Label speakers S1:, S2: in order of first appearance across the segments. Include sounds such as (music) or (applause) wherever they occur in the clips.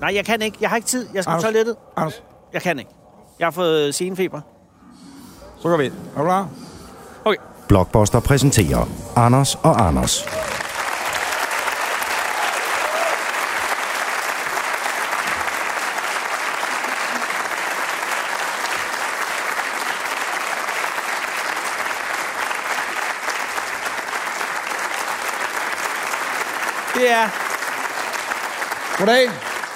S1: Nej, jeg kan ikke. Jeg har ikke tid. Jeg skal på
S2: Anders.
S1: toilettet.
S2: Anders,
S1: Jeg kan ikke. Jeg har fået senefeber.
S2: så går vi ind. Er du klar?
S3: Blockbuster præsenterer Anders og Anders.
S1: Det er...
S2: Goddag.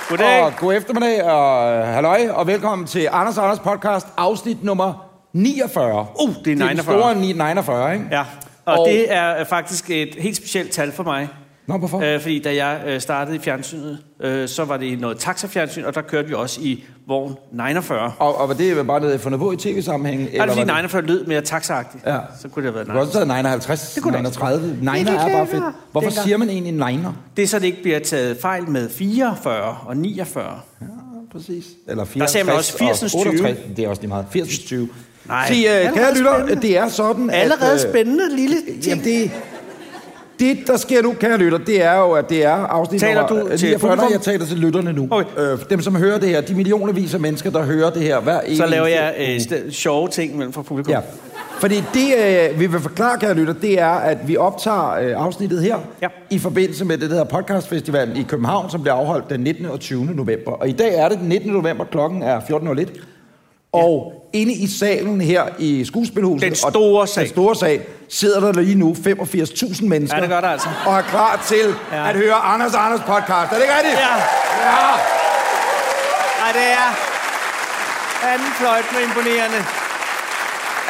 S1: Goddag.
S2: Og god eftermiddag, og øh, halløj, og velkommen til Anders og Anders podcast, afsnit nummer 49.
S1: Uh, det er
S2: Det er den
S1: 49.
S2: store ni- 49, ikke?
S1: Ja, og,
S2: Og-
S1: og det er øh, faktisk et helt specielt tal for mig.
S2: Nå, hvorfor?
S1: Øh, fordi da jeg øh, startede i fjernsynet, øh, så var det noget taxafjernsyn, og der kørte vi også i vogn 49.
S2: Og, og var det bare noget fundet på i tv-sammenhæng?
S1: Eller er det
S2: var
S1: fordi 49 lød mere taxagtigt?
S2: Ja.
S1: Så kunne det have været
S2: Du kunne
S1: nej.
S2: også have taget 59, det
S1: kunne
S2: kunne
S1: du
S2: 39. Niner
S1: det
S2: er bare
S1: klæder.
S2: fedt. Hvorfor
S1: Dengang.
S2: siger man egentlig niner?
S1: Det er så, det ikke bliver taget fejl med 44 og 49.
S2: Præcis. Eller
S1: sagde man også
S2: 64 og
S1: 80'ens
S2: 68. Det er også lige meget. 80 20.
S1: Nej.
S2: Se, øh, kære
S1: Allerede
S2: lytter,
S1: spændende.
S2: det er sådan, at...
S1: Allerede
S2: øh,
S1: spændende lille ting.
S2: Jamen, det, det, der sker nu, kære lytter, det er jo, at det er afsnit
S1: Taler
S2: nummer
S1: du
S2: øh,
S1: til
S2: 49.
S1: publikum?
S2: Jeg taler til lytterne nu.
S1: Okay.
S2: Øh, dem, som hører det her, de millionervis af mennesker, der hører det her hver
S1: Så
S2: eneste-
S1: laver jeg øh, st- sjove ting mellem fra publikum.
S2: Ja. Fordi det, øh, vi vil forklare, kære lytter, det er, at vi optager øh, afsnittet her
S1: Ja.
S2: i forbindelse med det, der hedder podcastfestivalen i København, som bliver afholdt den 19. og 20. november. Og i dag er det den 19. november, klokken er 14.01. Og inde i salen her i skuespilhuset...
S1: Den store
S2: og,
S1: sal.
S2: Den store sal sidder der lige nu 85.000 mennesker.
S1: Ja, det gør der altså.
S2: Og er klar til ja.
S1: Ja.
S2: at høre Anders og Anders podcast. Er det ikke rigtigt?
S1: Ja.
S2: ja.
S1: Ej, det er anden fløjt med imponerende.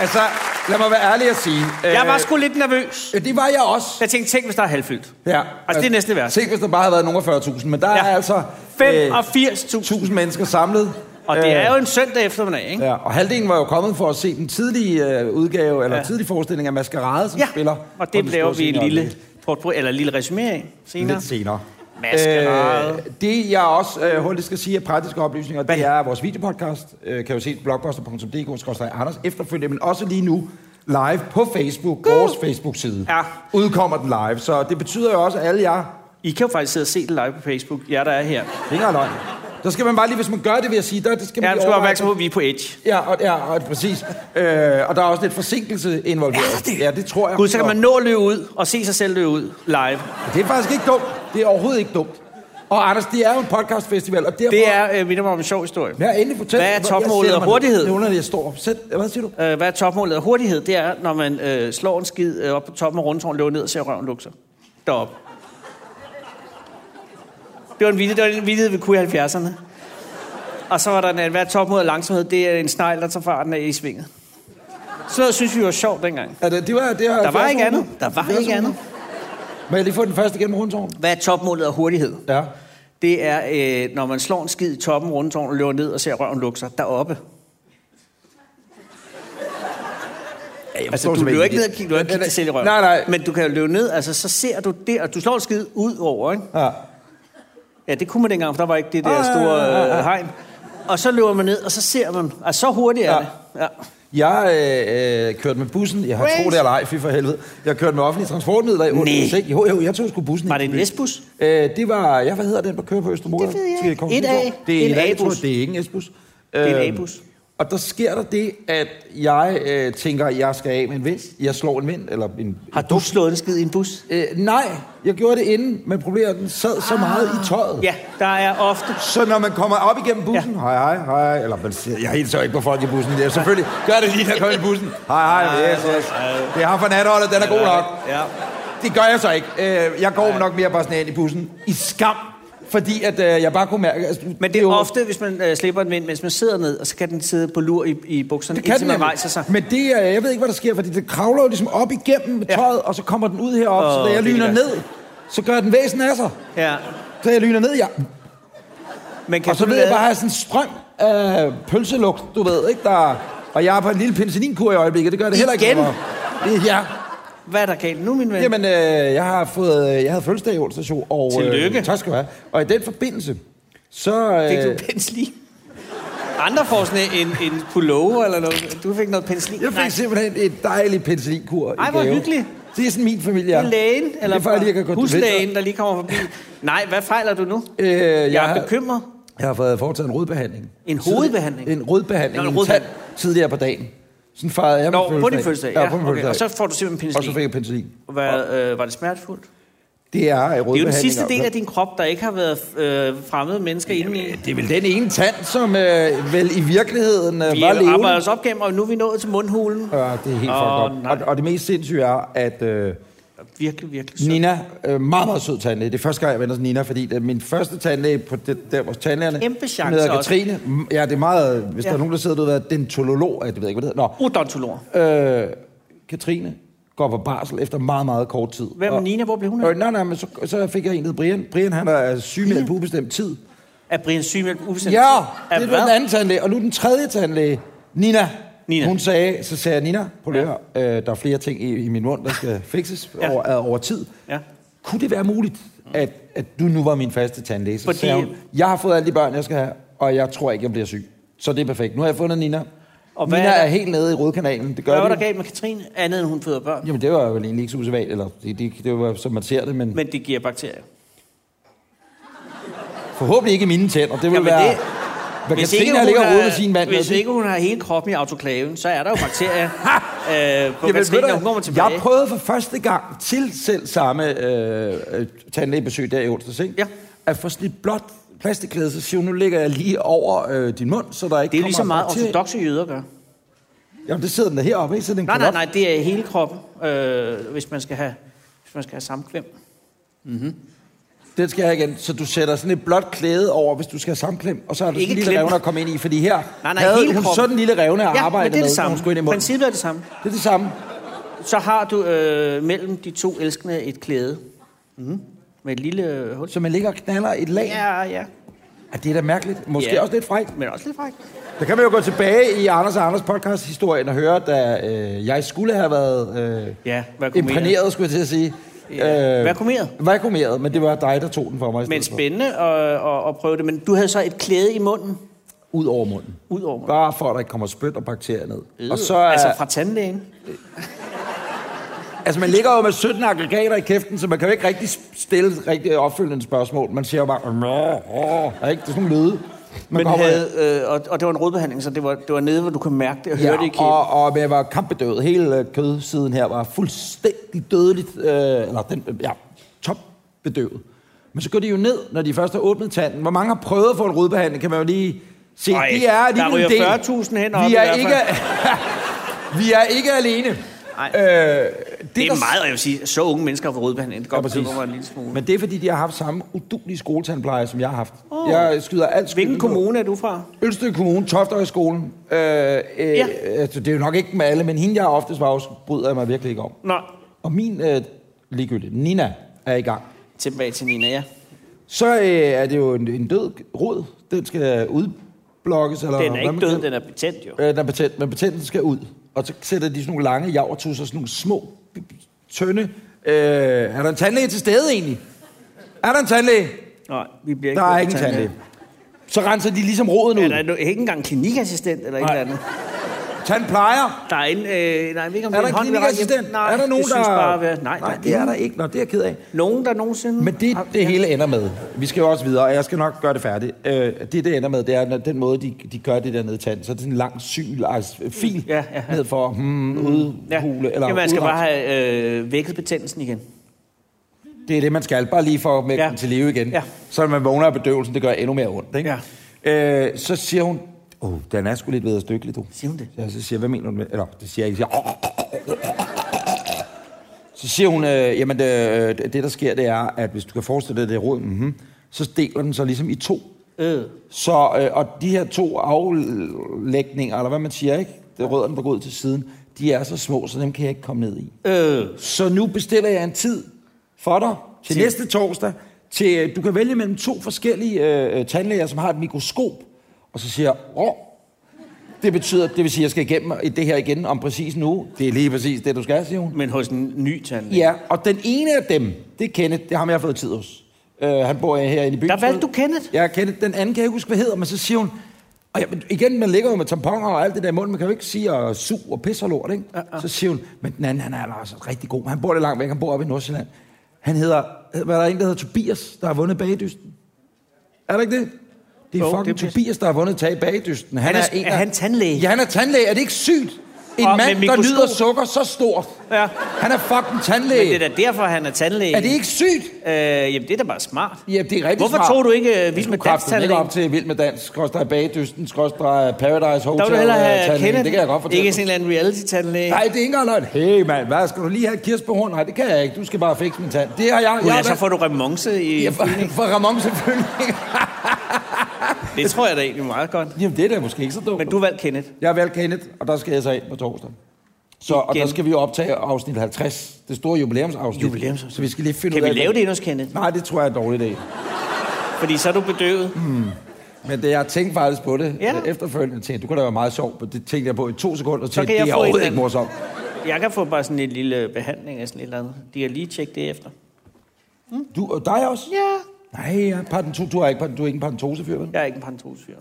S2: Altså, lad mig være ærlig at sige.
S1: Jeg var
S2: øh,
S1: sgu lidt nervøs.
S2: ja, det var jeg også.
S1: Jeg tænkte, tænk, hvis der er halvfyldt.
S2: Ja.
S1: Altså, det er næsten værst.
S2: Tænk, hvis der bare havde været nogen af 40.000, men der ja.
S1: Ja.
S2: er altså øh,
S1: 85.000.
S2: 1.000 mennesker samlet.
S1: Og det er jo
S2: Øh,
S1: en søndag eftermiddag, ikke?
S2: Ja, og halvdelen var jo kommet for at se den tidlige øh, udgave, eller ja.
S1: Ja.
S2: tidlige forestilling af Maskerade, som spiller.
S1: og
S2: på
S1: det
S2: den
S1: laver
S2: store
S1: vi en
S2: scene i
S1: lille,
S2: øjeblikket.
S1: portbrød, eller en lille resumé af senere.
S2: Lidt senere.
S1: Maskerade.
S2: Øh, det jeg også øh, hurtigt skal sige af praktiske oplysninger, det er at vores videopodcast. Øh, kan jo se på blogposter.dk-anders efterfølgende, men også lige nu live på Facebook, vores Facebook-side.
S1: Ja.
S2: Udkommer den live, så det betyder jo også, at alle jer
S1: I kan jo faktisk sidde og se det live på Facebook, jer der er her.
S2: Det er ikke engang løgn. Der skal man bare lige, hvis man gør det, vil jeg sige, der det skal man
S1: Ja, du
S2: lige
S1: skal være
S2: overveje.
S1: opmærksom på, at vi er på Edge.
S2: Ja, og, ja og, præcis. Øh, og der er også lidt forsinkelse involveret. Ja, det, ja, det tror jeg.
S1: Gud, så kan man nå at løbe ud og se sig selv løbe ud live.
S2: Det er faktisk ikke dumt. Det er overhovedet ikke dumt. Og Anders, det er jo en podcastfestival, og derfor...
S1: Det er, øh, minder mig om en sjov historie.
S2: Ja, endelig fortæl.
S1: Hvad er
S2: Jeg
S1: topmålet
S2: sætter
S1: af
S2: mig ned.
S1: hurtighed?
S2: Det er under, jeg står op. Sæt, hvad siger du?
S1: Øh, hvad er topmålet af hurtighed? Det er, når man øh, slår en skid øh, op på toppen af rundtårnet, løber ned og ser røven lukke sig. Derop. Det var en vidighed, det var en vidighed vi kunne i 70'erne. Og så var der en anden, hvad er topmålet af langsomhed? Det er en snegl, der tager farten af i svinget. Sådan noget synes vi var sjovt dengang.
S2: Er det, det var, det var
S1: Der var ikke
S2: 70'erne.
S1: andet. Der var ikke
S2: 70'erne.
S1: andet.
S2: Må jeg lige få den første igennem rundtårnet?
S1: Hvad er topmålet af hurtighed?
S2: Ja.
S1: Det er, øh, når man slår en skid i toppen af rundtårnet, løber ned og ser røven lukke sig deroppe.
S2: Jeg
S1: Altså, du løber ikke ned og kigger, du har ikke kigget dig selv i røven.
S2: Nej, nej.
S1: Men du kan jo løbe ned, altså så ser du det, og du slår en skid ud over, ikke?
S2: Ja.
S1: Ja, det kunne man dengang, for der var ikke det der
S2: Ah,
S1: store
S2: ja, ja, ja.
S1: øh, hegn. Og så løber man ned, og så ser man, altså så hurtigt er
S2: Ja.
S1: det. Ja.
S2: Jeg øh, øh, kørte med bussen. Jeg har
S1: Wait.
S2: troet det eller ej, fy for helvede. Jeg kørte med offentlige transportmidler i Odense.
S1: Nej.
S2: ikke? Jo, jo, jeg tog sgu bussen.
S1: Var
S2: i
S1: det en
S2: byen.
S1: S-bus?
S2: Øh, det var, ja, hvad hedder den, der kører på Østermor?
S1: Det ved jeg
S2: Til
S1: ikke.
S2: Kongens
S1: Et A.
S2: Nytorv. Det er
S1: En
S2: en A-bus.
S1: A-bus.
S2: Det er ikke en S-bus.
S1: er en
S2: Øhm,
S1: A-bus.
S2: Og der sker der det, at jeg øh, tænker, at jeg skal af med en vind. Jeg slår en vind, eller en...
S1: Har du slået en skid i en bus?
S2: Øh, nej, jeg gjorde det inden, men problemet er, at den sad så meget i tøjet.
S1: Ah. Ja, der er ofte.
S2: Så når man kommer op igennem bussen, ja. hej, hej, hej, eller man siger, jeg hilser ikke på folk i bussen, det er selvfølgelig, gør det lige, der kommer i bussen, hej, hej, yes, yes. det er ham fra natholdet, den er god nok.
S1: Ja.
S2: Det gør jeg så ikke. Øh, Jeg går nok mere bare sådan her ind i bussen, i skam, fordi at øh, jeg bare kunne mærke... Altså,
S1: Men det er ofte, hvis man øh, slipper en vind, mens man sidder ned, og så kan den sidde på lur i, i bukserne,
S2: kan
S1: indtil
S2: den
S1: man
S2: nemlig.
S1: rejser sig.
S2: Men det, er- jeg ved ikke, hvad der sker, fordi det kravler jo ligesom op igennem med
S1: Ja.
S2: tøjet, og så kommer den ud herop, så
S1: Åh,
S2: da jeg
S1: det er
S2: lyner
S1: det
S2: ned, så gør den væsen af sig.
S1: Ja.
S2: Så jeg lyner ned, ja.
S1: Men kan
S2: Og så
S1: du
S2: ved jeg
S1: lade-
S2: bare, at jeg har sådan en strøm af pølselugt, du ved, ikke? Der... Og jeg er på en lille penicillinkur i øjeblikket, det gør det heller ikke.
S1: Igen?
S2: nemmere. Det- Ja.
S1: Hvad er der galt nu, min ven?
S2: Jamen, øh, jeg har fået... øh, Jeg havde fødselsdag i onsdags, jo, og... øh,
S1: Tillykke.
S2: tak skal du have. Og i den forbindelse, så... Øh,
S1: Fik du pensli? Andre får sådan en, en pullover eller noget. Du fik noget pensli.
S2: Jeg fik Nej. simpelthen et dejligt penicillinkur i
S1: Ej, hvor
S2: gave.
S1: hyggeligt.
S2: Det er sådan min familie. er.
S1: Nej, lægen eller
S2: det er for, at jeg kan gå til
S1: huslægen, der lige kommer forbi. Nej, hvad fejler du nu?
S2: Øh, jeg,
S1: Jeg er
S2: har-
S1: bekymret.
S2: Jeg har fået foretaget en rodbehandling.
S1: En hovedbehandling?
S2: En rodbehandling.
S1: Nå, en
S2: en
S1: rodbehandling.
S2: tand tidligere på dagen. Sådan fejrede jeg
S1: Nå, på din fødselsdag. Ja,
S2: på min
S1: okay.
S2: fødselsdag.
S1: Og så får du simpelthen
S2: og så
S1: penicillin.
S2: fik jeg penicillin.
S1: Hvad, øh, var det smertefuldt? Det
S2: Det er øh, rodbehandling.
S1: er jo den sidste del af din krop, der ikke har været øh, fremmede mennesker inde i.
S2: Det er vel den ene tand, som øh, vel i virkeligheden øh,
S1: Vi
S2: var levende.
S1: arbejder os op gennem, og nu er vi nået til mundhulen.
S2: Ja, det er helt
S1: Åh,
S2: oh, fucked up.
S1: nej.
S2: Og, og det mest sindssyge er, at øh,
S1: Virkelig, virkelig sødt.
S2: Nina, øh, meget, meget sød tandlæge. Det er første gang, jeg vender til Nina, fordi det er min første tandlæge på det, der, vores tandlægerne.
S1: Kæmpe chance
S2: Hun hedder
S1: også.
S2: Katrine. Mm, Ja, det er meget... Hvis
S1: Ja.
S2: der er nogen, der sidder derude og er dentolog, jeg ved jeg ikke, hvad det hedder.
S1: Odontolog.
S2: Nå, øh, Katrine går på barsel efter meget, meget kort tid.
S1: Hvem er Nina? Hvor blev hun af?
S2: Øh, nej, nej, men så, så fik jeg en, der hed Brian. Brian, han er sygemeldt på ubestemt tid.
S1: Er Brian Sygmeld ubesendt?
S2: Ja,
S1: er
S2: det var den anden tandlæge. Og nu den tredje tandlæge, Nina.
S1: Nina.
S2: Hun sagde, så sagde jeg, Nina, på ja. øh, der er flere ting i, i min mund, der skal fikses
S1: Ja.
S2: ja. over, øh, over tid.
S1: Ja.
S2: Kunne det være muligt, at, at du nu var min faste tandlæge? Så
S1: Fordi-
S2: sagde hun, jeg har fået alle de børn, jeg skal have, og jeg tror ikke, jeg bliver syg. Så det er perfekt. Nu har jeg fundet Nina.
S1: Og
S2: Og
S1: hvad
S2: Nina
S1: er
S2: er,
S1: der-
S2: helt nede i rødkanalen. Det gør
S1: Hvad var
S2: de
S1: der
S2: jo.
S1: galt med Katrine, andet end hun føder børn?
S2: Jamen, det var vel egentlig ikke så usædvanligt, eller det, det, det var, som man ser det, men, men
S1: Men det giver bakterier.
S2: forhåbentlig ikke i mine tænder. Det vil
S1: Jamen,
S2: være...
S1: det-
S2: Hvad Katrine ligger og roder med sin mand. altså.
S1: hvis
S2: med,
S1: ikke hun har hele kroppen i autoklaven, så er der jo
S2: (laughs)
S1: bakterier øh, på
S2: Jamen, ved
S1: Katrine,
S2: du
S1: når hun
S2: hvad?
S1: kommer tilbage.
S2: Jeg prøvede for første gang til selv samme øh, øh, tandlægebesøg der i onsdags, ikke?
S1: Ja.
S2: At få sådan et blåt plastikklæde, så siger hun, nu ligger jeg lige over øh, din mund, så der ikke
S1: det er
S2: kommer
S1: lige så meget
S2: bakterier.
S1: ortodoxe jøder gør.
S2: Jamen, det sidder den der heroppe, ikke? Så den
S1: Nej,
S2: kan
S1: nej,
S2: op.
S1: nej, det er hele kroppen, øh, hvis man skal have, hvis man skal have samkvem.
S2: Den skal jeg have igen. Så du sætter sådan et blåt klæde over, hvis du skal have samklem, og så har du
S1: Ikke
S2: sådan en lille
S1: klem.
S2: revne at komme ind i, fordi her
S1: Nej, nej,
S2: havde
S1: hele
S2: hun
S1: kroppen.
S2: sådan en lille revne at
S1: men
S2: arbejde
S1: det er det
S2: med, når hun
S1: samme.
S2: skulle ind i munden.
S1: Princippet er det samme.
S2: Det er det samme.
S1: Så har du øh, mellem de to elskende et klæde. Mm. Med et lille øh, hul.
S2: Så man ligger og knaller et lag.
S1: Ja,
S2: Ja.
S1: ja.
S2: det er da mærkeligt. Måske
S1: Ja.
S2: også lidt frækt.
S1: Men også lidt frækt.
S2: Der kan man jo gå tilbage i Anders og Anders podcast-historien og høre, da øh, jeg skulle have været øh,
S1: Ja, vakuumeret.
S2: imprægneret, skulle jeg til at sige. Øh,
S1: Ja, vakuumeret.
S2: Vakuumeret, men det var dig, der tog den for mig i
S1: Men
S2: stedet for.
S1: spændende at, at, at prøve det. Men du havde så et klæde i munden,
S2: Ud over munden.
S1: ud over munden.
S2: Bare for, at der ikke kommer spyt og bakterier ned. Øh. Og så er,
S1: Altså
S2: altså,
S1: fra tandlægen.
S2: altså, man ligger jo med 17 aggregater i kæften, så man kan jo ikke rigtig stille rigtig opfølgende spørgsmål. Man siger jo bare... "Åh, åh." Der er ikke det er sådan nogle lyde. Man
S1: Men
S2: kommer-
S1: havde, øh, og, og det var en rodbehandling, så det var, det var nede, hvor du kunne mærke det og ja, høre det i kæben.
S2: og, og jeg var kampbedøvet. Hele øh, kødsiden her var fuldstændig dødeligt, øh, eller den, øh, ja, topbedøvet. Men så går de jo ned, når de først har åbnet tanden. Hvor mange har prøvet at få en rodbehandling, kan man jo lige se.
S1: Ej,
S2: de er lige
S1: der ryger 40.000 hen op i
S2: vi er
S1: hvert fald.
S2: ikke, (laughs) Vi er ikke alene.
S1: Ej.
S2: Øh,
S1: Det er
S2: der-
S1: meget, jeg vil sige, så unge mennesker får rodbehandling. Det går
S2: præcis.
S1: ja, en lille smule. Men
S2: Men det er, fordi de har haft samme udulige skoletandpleje, som jeg har haft. Oh. Jeg skyder alt skylden
S1: Hvilken
S2: på-
S1: kommune er du fra?
S2: Ølstykke Kommune, Toftøjskolen. Øh, øh,
S1: Ja.
S2: ja. altså, det er jo nok ikke med alle, men hende, jeg oftest var hos, bryder jeg mig virkelig ikke om.
S1: Nå,
S2: Og min øh, ligegyldige, Nina, er i gang.
S1: tilbage til Nina, ja.
S2: Så øh, er det jo en, en død rod. Den skal udblokkes. Eller
S1: Den er
S2: hvad
S1: ikke
S2: man
S1: død,
S2: kalder-
S1: den er betændt jo.
S2: Øh, den er betændt, men betændten skal ud. Og så sætter de sådan nogle lange javertusser, sådan nogle små, b- b- tynde... Øh, er der en tandlæge til stede egentlig? Er der en tandlæge?
S1: Nej, vi bliver ikke
S2: Der er
S1: ved
S2: ikke en
S1: tandlæge.
S2: tandlæge. Så renser de ligesom roden
S1: Er
S2: ud.
S1: der no- ikke engang klinikassistent eller et
S2: Nej.
S1: eller andet?
S2: Tandplejer.
S1: Der er en, øh, nej, jeg ved ikke, om
S2: Er
S1: det
S2: der
S1: en
S2: en
S1: hånd, vi rækker-
S2: klinikassistent?
S1: Nej,
S2: er der nogen,
S1: det synes
S2: der...
S1: Bare, nej, nej,
S2: nej, det er der ikke. Nå, det er jeg ked af.
S1: Nogen, der nogensinde...
S2: Men det,
S1: har-
S2: det hele ender med, vi skal jo også videre, og jeg skal nok gøre det færdigt. Øh, det, det ender med, det er når den måde, de, de gør det der nede i tanden. Så er det sådan en lang syl, altså fil
S1: Ja, ja, ja. Mm.
S2: ned for hmm, udhule. Eller
S1: ja, man skal
S2: udrense.
S1: bare have øh, vækket betændelsen igen.
S2: Det er det, man skal. Bare lige for at vække
S1: Ja.
S2: ja. den til live igen.
S1: Ja.
S2: Ja. Så når man vågner af bedøvelsen, det gør endnu mere ondt. Ikke? Ja. Øh, så siger hun, åh, oh, den er sgu lidt ved at stykke du.
S1: Siger hun det?
S2: Ja, så siger jeg, hvad mener du med? Eller, det siger jeg ikke. Jeg Siger, så siger hun, øh, jamen det, det, der sker, det er, at hvis du kan forestille dig det råd, mm-hmm, så deler den sig ligesom i to.
S1: Øh.
S2: Så, øh, og de her to aflægninger, eller hvad man siger, ikke? Det rødderne, der går ud til siden, de er så små, så dem kan jeg ikke komme ned i.
S1: Øh.
S2: Så nu bestiller jeg en tid for dig til,
S1: Til-
S2: til. næste torsdag. Til, du kan vælge mellem to forskellige øh, øh, tandlæger, som har et mikroskop. Og så siger jeg, åh, det betyder, det vil sige, at jeg skal igennem det her igen om præcis nu. Det er lige præcis det, du skal, siger hun.
S1: Men hos en ny tandlæge.
S2: Ja, og den ene af dem, det er Kenneth. Det er ham, jeg har fået tid hos. Øh, han bor herinde i byen.
S1: Der valgte du Kenneth?
S2: Ja, Kenneth. Den anden kan jeg ikke huske, hvad hedder, men så siger hun... Og ja, men igen, man ligger jo med tamponer og alt det der i munden. Man kan jo ikke sige og su og pisse og lort, ikke? Uh-uh. Så siger hun, men den anden, han er altså rigtig god. Han bor lidt langt væk. Han bor oppe i Nordsjælland. Han hedder... Hvad er der en, der hedder Tobias, der har vundet bagedysten? Er der ikke det? Det er
S1: Jo,
S2: jo, fucking
S1: det er pis.
S2: Tobias, der har vundet tag i bagdysten. Han,
S1: Han
S2: han
S1: er-
S2: er,
S1: er
S2: en, af-
S1: han tandlæge?
S2: Ja, han er tandlæge. Er det ikke sygt? En
S1: Og
S2: og
S1: med
S2: mand, der
S1: mikroskop.
S2: nyder sukker så stort.
S1: Ja.
S2: Han er fucking tandlæge.
S1: Men det er da derfor, han er tandlæge.
S2: Er det ikke sygt?
S1: Øh, jamen, det er da bare smart.
S2: Ja, det er rigtig
S1: Hvorfor
S2: smart.
S1: tog du ikke uh,
S2: Jeg
S1: Vild
S2: skulle
S1: med Dans
S2: kraften ikke
S1: tandlæge?
S2: op til Vild med Dans, skråstrej Bagdysten, skråstrej Paradise Hotel.
S1: Der vil du hellere
S2: øh,
S1: have
S2: tandlæge.
S1: Kenneth.
S2: Det kan jeg godt fortælle
S1: Ikke
S2: dig.
S1: sådan en eller anden reality-tandlæge.
S2: Nej, det er ikke engang løgn. Hey mand, hvad skal du lige have et kirsebærhorn? Nej, det kan jeg ikke. Du skal bare fikse min tand. Det har jeg.
S1: Gud,
S2: jeg
S1: ja, så får du remonce i...
S2: Ja, for, for Ramon selvfølgelig. (laughs)
S1: Det tror jeg da egentlig meget godt.
S2: Jamen, det er da måske ikke så dumt.
S1: Men du valgte Kenneth.
S2: Jeg har valgt Kenneth, og der skal jeg så ind på torsdag. Så, og
S1: Igen.
S2: der skal vi jo optage afsnit 50, det store jubilæumsafsnit.
S1: Jubilæumsafsnit.
S2: Så vi skal lige finde
S1: Kan
S2: ud
S1: vi
S2: af...
S1: lave det endnu hos Kenneth?
S2: Nej, det tror jeg er en dårlig idé.
S1: Fordi så er du bedøvet.
S2: Men det, jeg tænkte faktisk på det
S1: Ja.
S2: ja. efterfølgende. Jeg tænkte, du kunne da være meget sjov, men det tænkte jeg på i to sekunder.
S1: Så
S2: Tænkte,
S1: kan jeg
S2: det er
S1: få en
S2: overhovedet
S1: anden.
S2: ikke morsomt.
S1: Jeg kan få bare sådan en lille behandling af sådan et eller andet. De kan lige tjekke det efter.
S2: Du og dig også?
S1: Ja.
S2: Nej, ja. Parten, du, er ikke, du er ikke en parentosefyr, vel?
S1: Jeg er ikke en pantosfyr.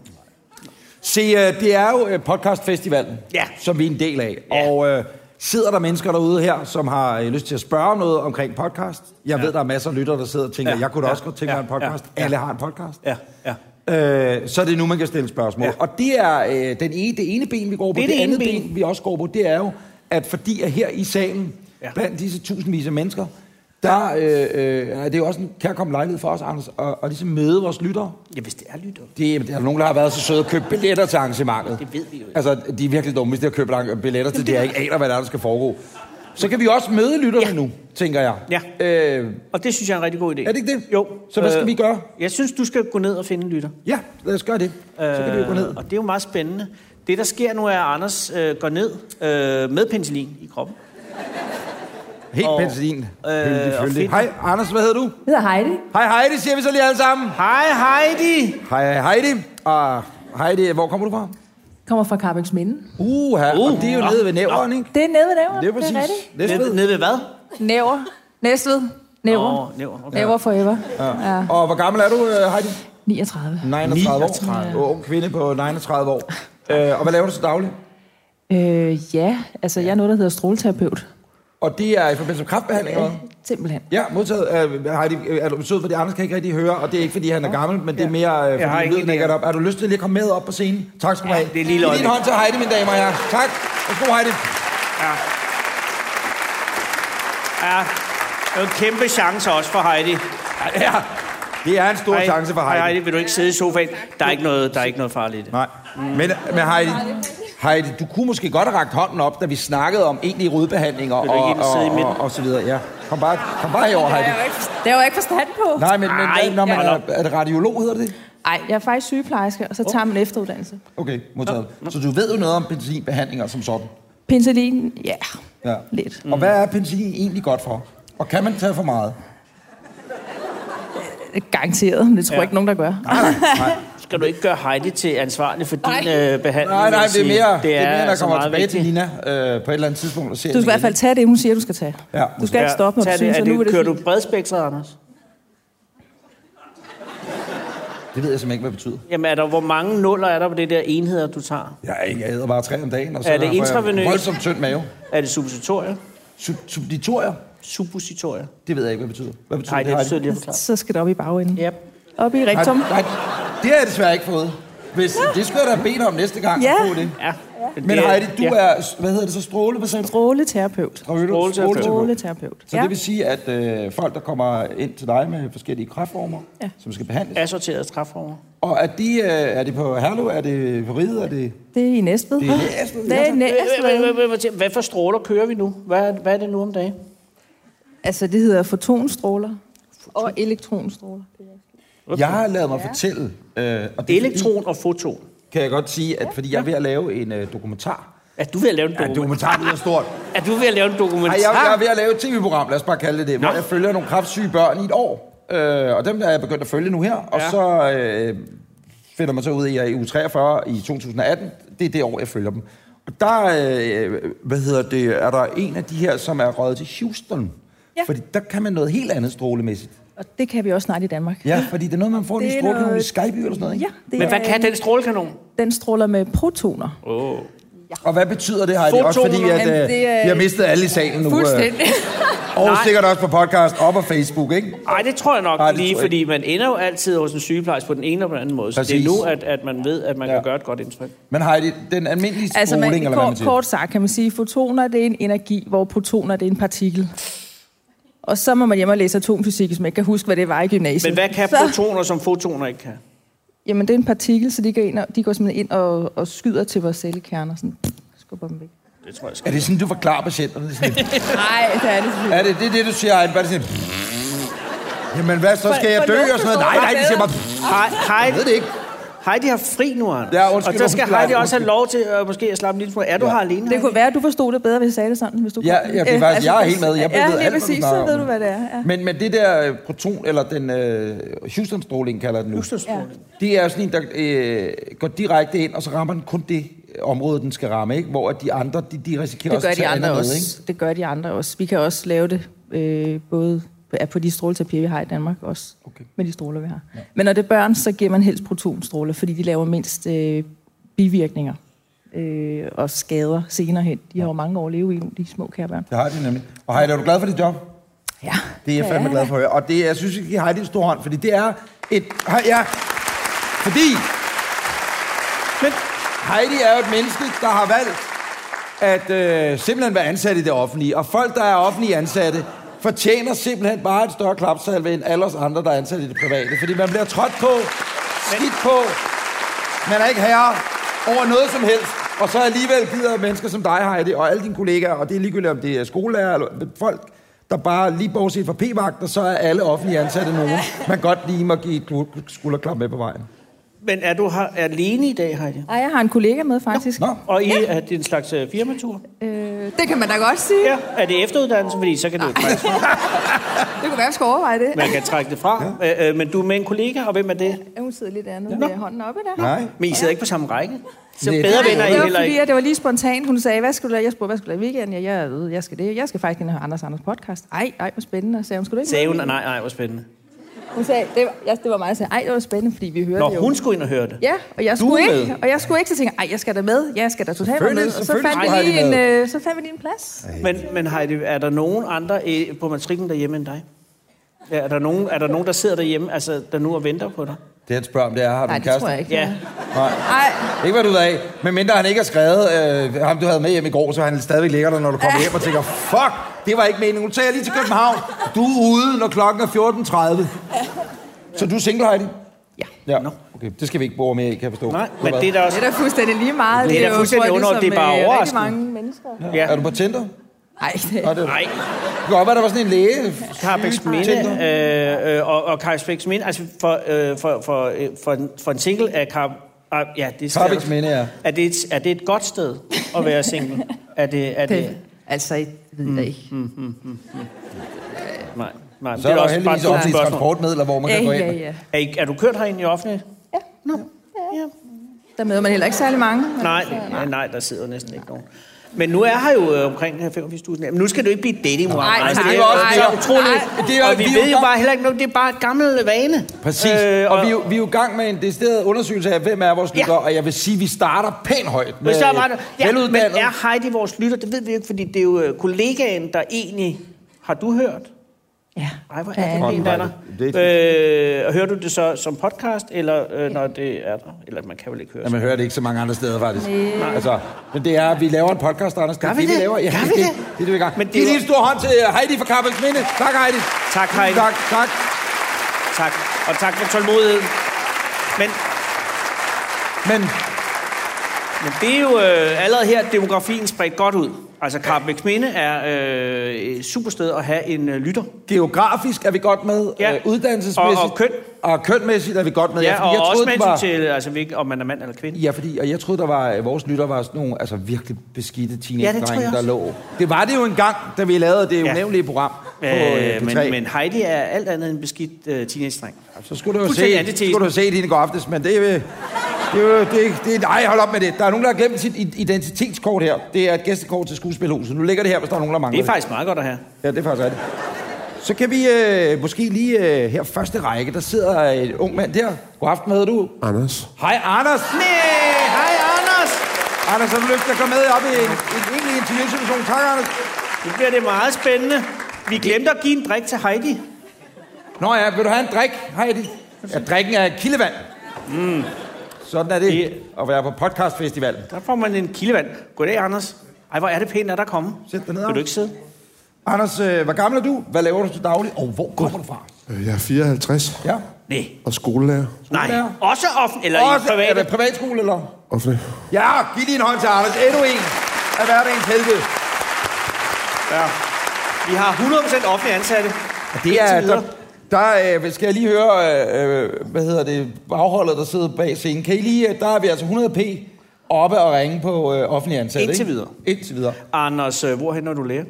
S2: Se, øh, det er jo øh, podcastfestivalen,
S1: Ja.
S2: som vi er en del af.
S1: Ja.
S2: Og øh, sidder der mennesker derude her, som har øh, lyst til at spørge om noget omkring podcast? Jeg ja. ved, der er masser af lyttere, der sidder og tænker,
S1: Ja.
S2: ja. jeg kunne da
S1: Ja.
S2: også godt tænke mig
S1: Ja.
S2: en podcast.
S1: Ja.
S2: Ja. Alle har en podcast.
S1: Ja, ja.
S2: Øh, så er det nu, man kan stille spørgsmål.
S1: Ja.
S2: Ja. Og det er øh, den ene, det ene ben, vi går på.
S1: Det er
S2: Det, det
S1: det ene
S2: andet ben.
S1: ben,
S2: ben, vi også går på, det er jo, at fordi at her i salen,
S1: Ja.
S2: ja. blandt disse tusindvis af mennesker, der øh, øh, er det jo også en kærkommen lejlighed for os, Anders, at, at ligesom møde vores lyttere.
S1: Ja, hvis det er lytter.
S2: Det er, der er nogen, der har været så søde at købe billetter til arrangementet.
S1: Det ved vi jo ikke.
S2: Altså, de er virkelig dumme, hvis de har købt lang- billetter til det, jeg ikke aner, hvad der, er, der skal foregå. Så kan vi også møde lytterne
S1: Ja.
S2: ja. nu, tænker jeg.
S1: Ja.
S2: Øh,
S1: Og det synes jeg er en rigtig god idé.
S2: er det ikke det?
S1: Jo.
S2: Så hvad skal
S1: Øh,
S2: vi gøre?
S1: Jeg synes, du skal gå ned og finde en lytter. Øh,
S2: Ja, lad os gøre det. Så kan vi jo gå ned.
S1: Og det er jo meget spændende. Det, der sker nu, er, at Anders øh, går ned øh, med penicillin i kroppen.
S2: Helt
S1: og-
S2: penicillin.
S1: Øh,
S2: Føldig,
S1: og
S2: føldig.
S1: fedt.
S2: Hej, Anders, hvad hedder du?
S4: Jeg hedder Heidi.
S2: Hej Heidi, siger vi så lige alle sammen.
S1: Hej Heidi!
S2: Hej Heidi. Og Heidi, hvor kommer du fra?
S4: Kommer fra Carbex Minde.
S2: Uh, her.
S1: Uh,
S2: og det er jo
S1: nå,
S2: nede ved nævren, ikke?
S4: Det er nede ved næver.
S2: Det er præcis.
S4: rigtigt.
S1: Ned,
S2: Næstved.
S1: ned ved hvad?
S4: Næver. Næstved. Næver. Oh,
S1: Åh, næver. Okay.
S4: Næver forever. Ja. ja.
S2: Og hvor gammel er du, øh, Heidi?
S4: 39.
S2: 39
S4: 39.
S2: år. Ung kvinde på 39 år. Øh, og hvad laver du så dagligt?
S4: Øh, ja, altså jeg er noget, der hedder stråleterapeut.
S2: Og det er i forbindelse med kræftbehandling, eller hvad?
S4: Simpelthen.
S2: Ja, modtaget. Øh, Heidi, øh, er du sød, fordi Anders kan ikke rigtig høre, og det er ikke, fordi han er gammel, men det er mere, øh,
S1: Jeg har
S2: fordi
S1: ikke
S2: lyden ikke
S1: idé.
S2: er op. Er du lyst til lige at komme med op på scenen? Tak skal du have.
S1: det er lige
S2: Giv
S1: løgnet.
S2: en hånd til Heidi, mine damer og herrer. Tak. Værsgo, Heidi.
S1: Ja, det er jo en kæmpe chance også for Heidi.
S2: Ja, det er en stor chance for
S1: Hej
S2: Heidi.
S1: Heidi, vil du ikke sidde i sofaen? Der er ikke noget, der er ikke noget farligt i det.
S2: Nej. Men, men Heidi, Heidi, du kunne måske godt have rakt hånden op, da vi snakkede om egentlige rodbehandlinger
S1: Vil du
S2: og,
S1: ikke
S2: og,
S1: sidde i midten?
S2: og, og, så videre. Ja. Kom bare, kom bare herover, Heidi.
S4: Det har jeg ikke forstand på.
S2: Nej, men, men
S1: Ej,
S2: Ej, når man
S1: hold
S2: er,
S1: op.
S2: er det radiolog, hedder det?
S4: Nej, jeg er faktisk sygeplejerske, og så tager man efteruddannelse.
S2: Okay, modtaget. Så du ved jo noget om penicillinbehandlinger som sådan.
S4: Penicillin, ja,
S2: Ja.
S4: lidt.
S2: Og
S1: Mm.
S2: hvad er penicillin egentlig godt for? Og kan man tage for
S1: (laughs)
S2: meget?
S4: Garanteret, men det tror jeg ikke nogen, der gør.
S1: Skal du ikke gøre Heidi til ansvarlig for din øh, behandling?
S2: Nej,
S1: vil
S2: nej,
S1: jeg
S2: det er
S1: sige.
S2: mere, det er, det er mere der
S1: altså
S2: kommer
S1: meget
S2: tilbage vigtigt. til
S1: vigtigt.
S2: Nina øh, på et eller andet tidspunkt. Og ser
S4: Du skal i hvert fald tage det, hun siger, du skal tage.
S2: Ja.
S4: Du skal ikke
S1: Ja,
S4: stoppe, når
S1: tag
S4: du synes,
S1: Er
S4: at nu er det
S1: Kører
S4: fint.
S1: du bredspektret, Anders?
S2: Det ved jeg simpelthen ikke, hvad det betyder.
S1: Jamen, er der, hvor mange nuller er der på det der enheder, du tager?
S2: Jeg, er ikke, jeg æder bare tre om dagen, og så
S1: Er det
S2: får jeg
S1: intravenøst?
S2: voldsomt tynd mave.
S1: Er det suppositorier?
S2: Sub- Subditorier?
S1: Suppositorier?
S2: Det ved jeg ikke, hvad det betyder. Hvad betyder
S1: Nej, det
S2: Heidi?
S1: betyder lige at forklare.
S4: Så skal det op i bagenden.
S1: Ja.
S4: Op i
S2: Nej,
S4: rektum.
S2: nej, det har jeg desværre ikke fået. Hvis, det skulle jeg da bede om næste gang
S4: Ja.
S2: at få det.
S1: ja.
S2: Men
S1: det-
S2: Heidi, du
S1: ja.
S2: er, hvad hedder det så, stråle? Hvad sagde du?
S4: Stråleterapeut.
S2: Stråle-
S1: Stråleterapeut.
S2: Stråleterapeut.
S4: Stråleterapeut.
S2: Så det vil sige, at øh, folk, der kommer ind til dig med forskellige kræftformer,
S4: Ja.
S2: som skal behandles,
S1: Assorteret træfformer.
S2: og er, de, øh, er det på Herlev, er det på Riget, er det...
S4: Det er i Næstved.
S2: Det er i Næstved,
S4: Det er i Næstved.
S1: Hvad for stråler kører vi nu? Hvad, er- hvad er det nu om dagen?
S4: Altså, det hedder fotonstråler og elektronstråler.
S2: Jeg har ladet mig fortælle, øh, og det er fordi,
S1: Elektron og foton.
S2: kan jeg godt sige, at fordi jeg er ved at lave en øh, dokumentar.
S1: Er du ved at lave en
S2: Ja,
S1: dokumentar?
S2: dokumentar lyder stort.
S1: Er du ved at lave en
S2: Ej, jeg, jeg er
S1: dokumentar?
S2: ved at lave et tv-program, lad os bare kalde det det, Nå. hvor jeg følger nogle kraftsyge børn i et år. Øh, og dem der er jeg begyndt at følge nu her. Og
S1: Ja.
S2: så øh, finder man så ud af, at jeg er i uge 43 i 2018. Det er det år, jeg følger dem. Og der, øh, hvad hedder det, er der en af de her, som er røget til Houston.
S4: Ja.
S2: Fordi der kan man noget helt andet strålemæssigt.
S4: Og det kan vi også snart i Danmark.
S2: Ja, fordi det er noget, man får en
S4: Det er
S2: stråle noget... i
S4: noget-
S2: Skyby eller sådan noget, ikke?
S4: Ja, det
S1: Men hvad
S4: er,
S1: kan den strålekanon?
S4: den stråler med protoner.
S1: Oh.
S2: Og hvad betyder det, Heidi? Også fordi,
S1: Fotoner.
S2: at, øh,
S4: Jamen, det er-
S2: (laughs) vi har mistet alle i salen nu. øh.
S4: Fuldstændig.
S2: Og
S1: Nej.
S2: sikkert også på podcast og på Facebook, ikke?
S1: Nej, det tror jeg nok
S2: Nej,
S1: Ej,
S2: det
S1: lige,
S2: tror jeg
S1: fordi man ender jo altid hos en sygeplejerske på den ene eller på den anden måde. Så det er
S2: Præcis.
S1: nu, at, at man ved, at man ja.
S2: Ja.
S1: kan gøre et godt indtryk.
S2: Men Heidi, den almindelige stråling,
S4: Altså, man,
S2: eller hvad man
S4: kort,
S2: siger?
S4: kort sagt kan man sige, at fotoner det er en energi, hvor protoner det er en partikel. Og så må man hjem og læse atomfysik, hvis man ikke kan huske, hvad det var i gymnasiet.
S1: Men hvad kan
S4: så,
S1: protoner, som fotoner ikke kan?
S4: Jamen, det er en partikel, så de går, ind og, de går simpelthen ind og, og skyder til vores cellekerner. Sådan, skubber dem væk.
S1: Det tror jeg
S2: Er
S1: skal.
S2: det sådan, du forklarer patienterne? Det er, sådan,
S4: Nej, det er det selvfølgelig.
S2: er det, det er det, du siger, Heidi? Bare det sådan... Jamen hvad, så skal
S4: For-
S2: jeg
S4: for
S2: dø
S4: nogen
S2: og sådan noget? Nej,
S4: forstår
S2: nej,
S4: det
S2: de siger bare...
S1: Hej,
S2: Jeg ved det ikke.
S1: Heidi har fri nu, Anders.
S2: Ja, undskyld,
S1: Og så skal
S2: undskyld,
S1: Heidi også
S2: undskyld.
S1: have lov til øh, måske at slappe en lille smule. Er du
S2: Ja.
S1: ja. her alene?
S4: Det kunne være, at du forstod det bedre, hvis jeg sagde det sådan, hvis du
S2: Ja,
S4: kom.
S2: ja, fordi
S4: Øh,
S2: faktisk, jeg er helt med. Jeg ved
S4: ja,
S2: alt,
S4: lige
S2: hvad du
S4: præcis,
S2: snakker
S4: så
S2: om.
S4: ved du, hvad det er. Ja.
S2: Men, men det der øh, proton, eller den øh, Houston-stråling kalder den nu,
S1: Houston-stråling.
S2: det er jo sådan en, der øh, går direkte ind, og så rammer den kun det område, den skal ramme, ikke? Hvor at de andre, de, de risikerer
S4: Det
S2: også
S4: gør
S2: at
S4: de
S2: tage
S4: andre
S2: andet med,
S4: også. Det gør de andre også. Vi kan også lave det øh, både på- er på de stråleterapier, vi har i Danmark også.
S2: Okay.
S4: Med de stråler, vi har. Ja. Men når det er børn, så giver man helst protonstråler, fordi de laver mindst øh, bivirkninger øh, og skader senere hen. De har jo mange år at leve i, de små kære børn.
S2: Det har de nemlig. Og Heidi, er du glad for dit job?
S4: Ja.
S2: Det er jeg fandme glad for at høre. Og det, jeg synes, vi giver Heidi en stor hånd, fordi det er et... Hej, Ja, fordi... Men Heidi er jo et menneske, der har valgt at øh, simpelthen være ansat i det offentlige. Og folk, der er offentlige ansatte, fortjener simpelthen bare et større klapsalve end alle os andre, der er ansat i det private. Fordi man bliver trådt på, skidt på, man er ikke herre over noget som helst. Og så alligevel gider mennesker som dig, Heidi, og alle dine kollegaer, og det er ligegyldigt, om det er skolelærer eller folk, der bare lige bortset fra p-vagter, så er alle offentlige ansatte nogen, man godt lige må give et klu- skulderklap med på vejen.
S1: Men er du her alene i dag, Heidi?
S4: Ej, jeg har en kollega med, faktisk.
S2: Nå,
S1: Og I, ja. er det en slags øh, firmatur?
S5: Øh, det kan man da godt sige.
S1: Ja. Er det efteruddannelse? Fordi så kan du faktisk,
S5: Det kunne være, at jeg skulle overveje det.
S1: man kan trække det fra. Ja. Øh, øh, men du er med en kollega, og hvem er det?
S5: Ja, Hun sidder lidt andet ja. med hånden oppe der.
S2: nej.
S1: Men I sidder ikke på samme række. Så
S2: Nej,
S1: bedre
S2: det-
S1: venner er
S4: det
S1: I
S4: var
S1: heller
S4: fordi,
S1: ikke.
S4: at det var lige spontant. Hun sagde, hvad skal du lave? Jeg spurgte, hvad skal du lave i weekenden? Ja, jeg, ved, jeg skal det. Jeg skal faktisk ind og høre Anders Anders podcast. Ej, ej, hvor spændende. Og Sagde hun, skulle du ikke
S1: Sagde
S4: med?"
S1: hun, nej, nej, hvor spændende.
S4: Hun sagde, det var, jeg, det var mig, der sagde, ej, det var spændende, fordi vi hørte det
S1: Nå,
S4: jo.
S1: hun skulle ind og høre det.
S4: Ja, og jeg
S2: Du
S4: skulle
S2: er
S4: ikke,
S2: med.
S4: og jeg skulle ikke, så tænkte jeg, ej, jeg skal da med, ja, jeg skal da totalt være
S2: Selvfølgelig-
S4: med. Og så
S2: selvfølgelig
S4: fandt, vi
S2: skulle
S4: lige
S2: Heidi
S4: en,
S2: med.
S4: øh, så fandt vi lige en plads.
S1: Men, men Heidi, er der nogen andre øh, på matriklen derhjemme end dig? Ja, er, der nogen, er der nogen, der sidder derhjemme, altså, der nu og venter på dig?
S2: Det han spørger om, det er, har du
S4: Nej,
S2: en
S4: det
S2: kæreste?
S4: tror jeg ikke.
S1: Ja.
S2: Nej.
S5: Ej,
S2: Ikke hvad du ved af, men mindre han ikke har skrevet øh, ham, du havde med hjem i går, så han stadigvæk ligger der, når du kommer hjem og tænker, fuck, det var ikke meningen. Nu tager jeg lige til København. Du er ude, når klokken er 14.30. Så du er single, Heidi?
S4: Ja.
S2: Ja, okay. Det skal vi ikke bore mere i, kan jeg forstå.
S1: Nej,
S2: Du har
S1: men
S2: været-
S1: det er da
S5: det
S1: også...
S5: er da fuldstændig lige meget.
S1: Det er da
S5: jo,
S1: fuldstændig
S5: tror jeg,
S1: underordnet. Det er
S5: ligesom,
S1: bare
S5: øh, rigtig
S1: overraskende.
S5: mange mennesker.
S1: Ja.
S2: Er du på Tinder?
S5: Ej, det
S2: Nej, det er du.
S1: Nej,
S2: Det kan godt være, der var sådan en læge.
S1: Carbex Minde øh, øh, og, og Carbex Minde, altså for, øh, for, for, øh, for, en, for en single er Car... ah, Ja, det skal
S2: Carbex
S1: jeg-
S2: Minde, ja.
S1: Er det, et, er det et godt sted at være single? Er det... Er Mm. det...
S4: Det, altså, jeg ved jeg ikke.
S1: Nej, nej.
S2: Så er der jo heldigvis
S1: et dumt
S2: offentlige
S1: spørgsmål.
S2: transportmidler, hvor man
S4: Ja,
S2: kan gå
S4: ja,
S2: ind.
S4: ja.
S1: Er, I, er du kørt herinde i offentligt?
S5: Ja.
S1: Nå. Ja.
S5: Der møder man heller ikke særlig mange.
S1: Nej, nej, nej, der sidder jo næsten ikke nogen. Men nu er her jo øh, omkring 85.000. Men nu skal du ikke blive dating, mor.
S5: Nej,
S1: Anders.
S5: tak.
S1: det er jo også
S5: Nej,
S1: så utroligt.
S2: nej. Det er jo-
S1: og vi,
S2: vi er jo
S1: ved jo
S2: gang-
S1: bare heller ikke noget. Det er bare et gammel vane.
S2: Præcis.
S1: Øh,
S2: Øh,
S1: og,
S2: og vi, er jo- vi er jo i gang med en decideret undersøgelse af, hvem er vores
S1: Ja.
S2: lytter, og jeg vil sige, at vi starter pænt højt med
S1: Men så er meget, ja, men
S2: veluddannet.
S1: er Heidi vores lytter? Det ved vi jo ikke, fordi det er jo øh, kollegaen, der egentlig... Har du hørt?
S4: Ja.
S1: Ej, hvor
S4: Ja,
S1: er det min
S2: Heidi.
S1: danner.
S2: Det
S1: Øh, og hører du det så som podcast, eller øh, når det er der? Eller man kan vel ikke høre
S2: Ja, man hører det ikke så mange andre steder, faktisk. Nej. Altså, men det er, vi laver en podcast, Anders.
S1: Gør vi
S2: vi
S1: det?
S2: laver. Ja,
S1: Gør vi
S2: det,
S1: det?
S2: Det, det er det, vi gør. Men
S1: Men det
S2: det Giv
S1: er
S2: lige
S1: jo-
S2: en stor hånd til øh, Heidi fra Kappels Minde. Tak, Heidi.
S1: Tak, Heidi.
S2: Tak, tak.
S1: Tak. Og tak for tålmodigheden. Men,
S2: Men
S1: men det er jo øh, allerede her, at demografien spredt godt ud. Altså, Karpbæk Minde er øh, et super sted at have en øh, lytter.
S2: geografisk er vi godt med.
S1: Ja.
S2: Øh, uddannelsesmæssigt.
S1: Og- og køn.
S2: Og kønmæssigt er vi godt med.
S1: Ja,
S2: fordi
S1: og også
S2: troede,
S1: med
S2: den var-
S1: var... til, altså, hvilken- om man er mand eller kvinde.
S2: Ja, fordi og jeg troede, der var, øh, vores lytter var sådan nogle altså, virkelig beskidte
S1: Ja, det
S2: teenage
S1: tror jeg
S2: der
S1: også.
S2: lå. Det var det jo engang, da vi lavede det
S1: Ja.
S2: unævnlige program på øh,
S1: Øh,
S2: P3.
S1: men, men Heidi er alt andet end beskidt øh, teenage-dreng.
S2: Så skulle du jo
S1: Fuldstændig
S2: se,
S1: antitesen.
S2: skulle du jo se din går aftes, men det er øh, det, er jo- det, er- det, er- nej, hold op med det. Der er nogen, der har glemt sit i- identitetskort her. Det er et gæstekort til skuespilhuset. Nu ligger det her, hvis der er nogen, der mangler
S1: Det er faktisk meget godt at have.
S2: Ja, det er faktisk rigtigt. Så kan vi øh, måske lige øh, her første række, der sidder en ung mand der. God aften, hvad hedder du?
S6: Anders.
S2: Hej, Anders. Nej, hej, Anders. Anders, har du lyst til at komme med op i en, en egentlig interviewsituation? Tak, Anders.
S1: Nu bliver det meget spændende. Vi glemte at give en drik til Heidi.
S2: Nå ja, vil du have en drik, Heidi? Ja, drikken er kildevand. Mm. Sådan er det
S1: Det-
S2: at være på podcastfestivalen.
S1: Der får man en kildevand. Goddag, Anders. Ej, hvor er det pænt, at der er kommet.
S2: Sæt dig ned,
S1: Vil du
S2: Anders.
S1: ikke sidde?
S2: Anders, øh, hvor gammel er du? Hvad laver du til daglig? Og hvor kommer du fra?
S6: Øh, Jeg er 54
S2: Ja.
S1: Nej.
S6: og skolelærer.
S1: Nej.
S2: Skolelærer.
S1: Også offentlig eller i
S2: er det
S1: private.
S2: privatskole, eller?
S6: Offentlig.
S2: Ja, giv lige en hånd til Anders. Endnu en af hverdagens helte.
S1: Vi har 100% offentlig ansatte.
S2: Det er,
S1: Indtil
S2: der,
S1: videre.
S2: der øh, skal jeg lige høre, øh, øh, hvad hedder det, bagholdet, der sidder bag scenen. Kan I lige, øh, der er vi altså 100p oppe og ringe på øh, offentlige ansatte,
S1: Indtil
S2: ikke?
S1: videre.
S2: Indtil videre.
S1: Anders, øh, hvorhen er du lærer?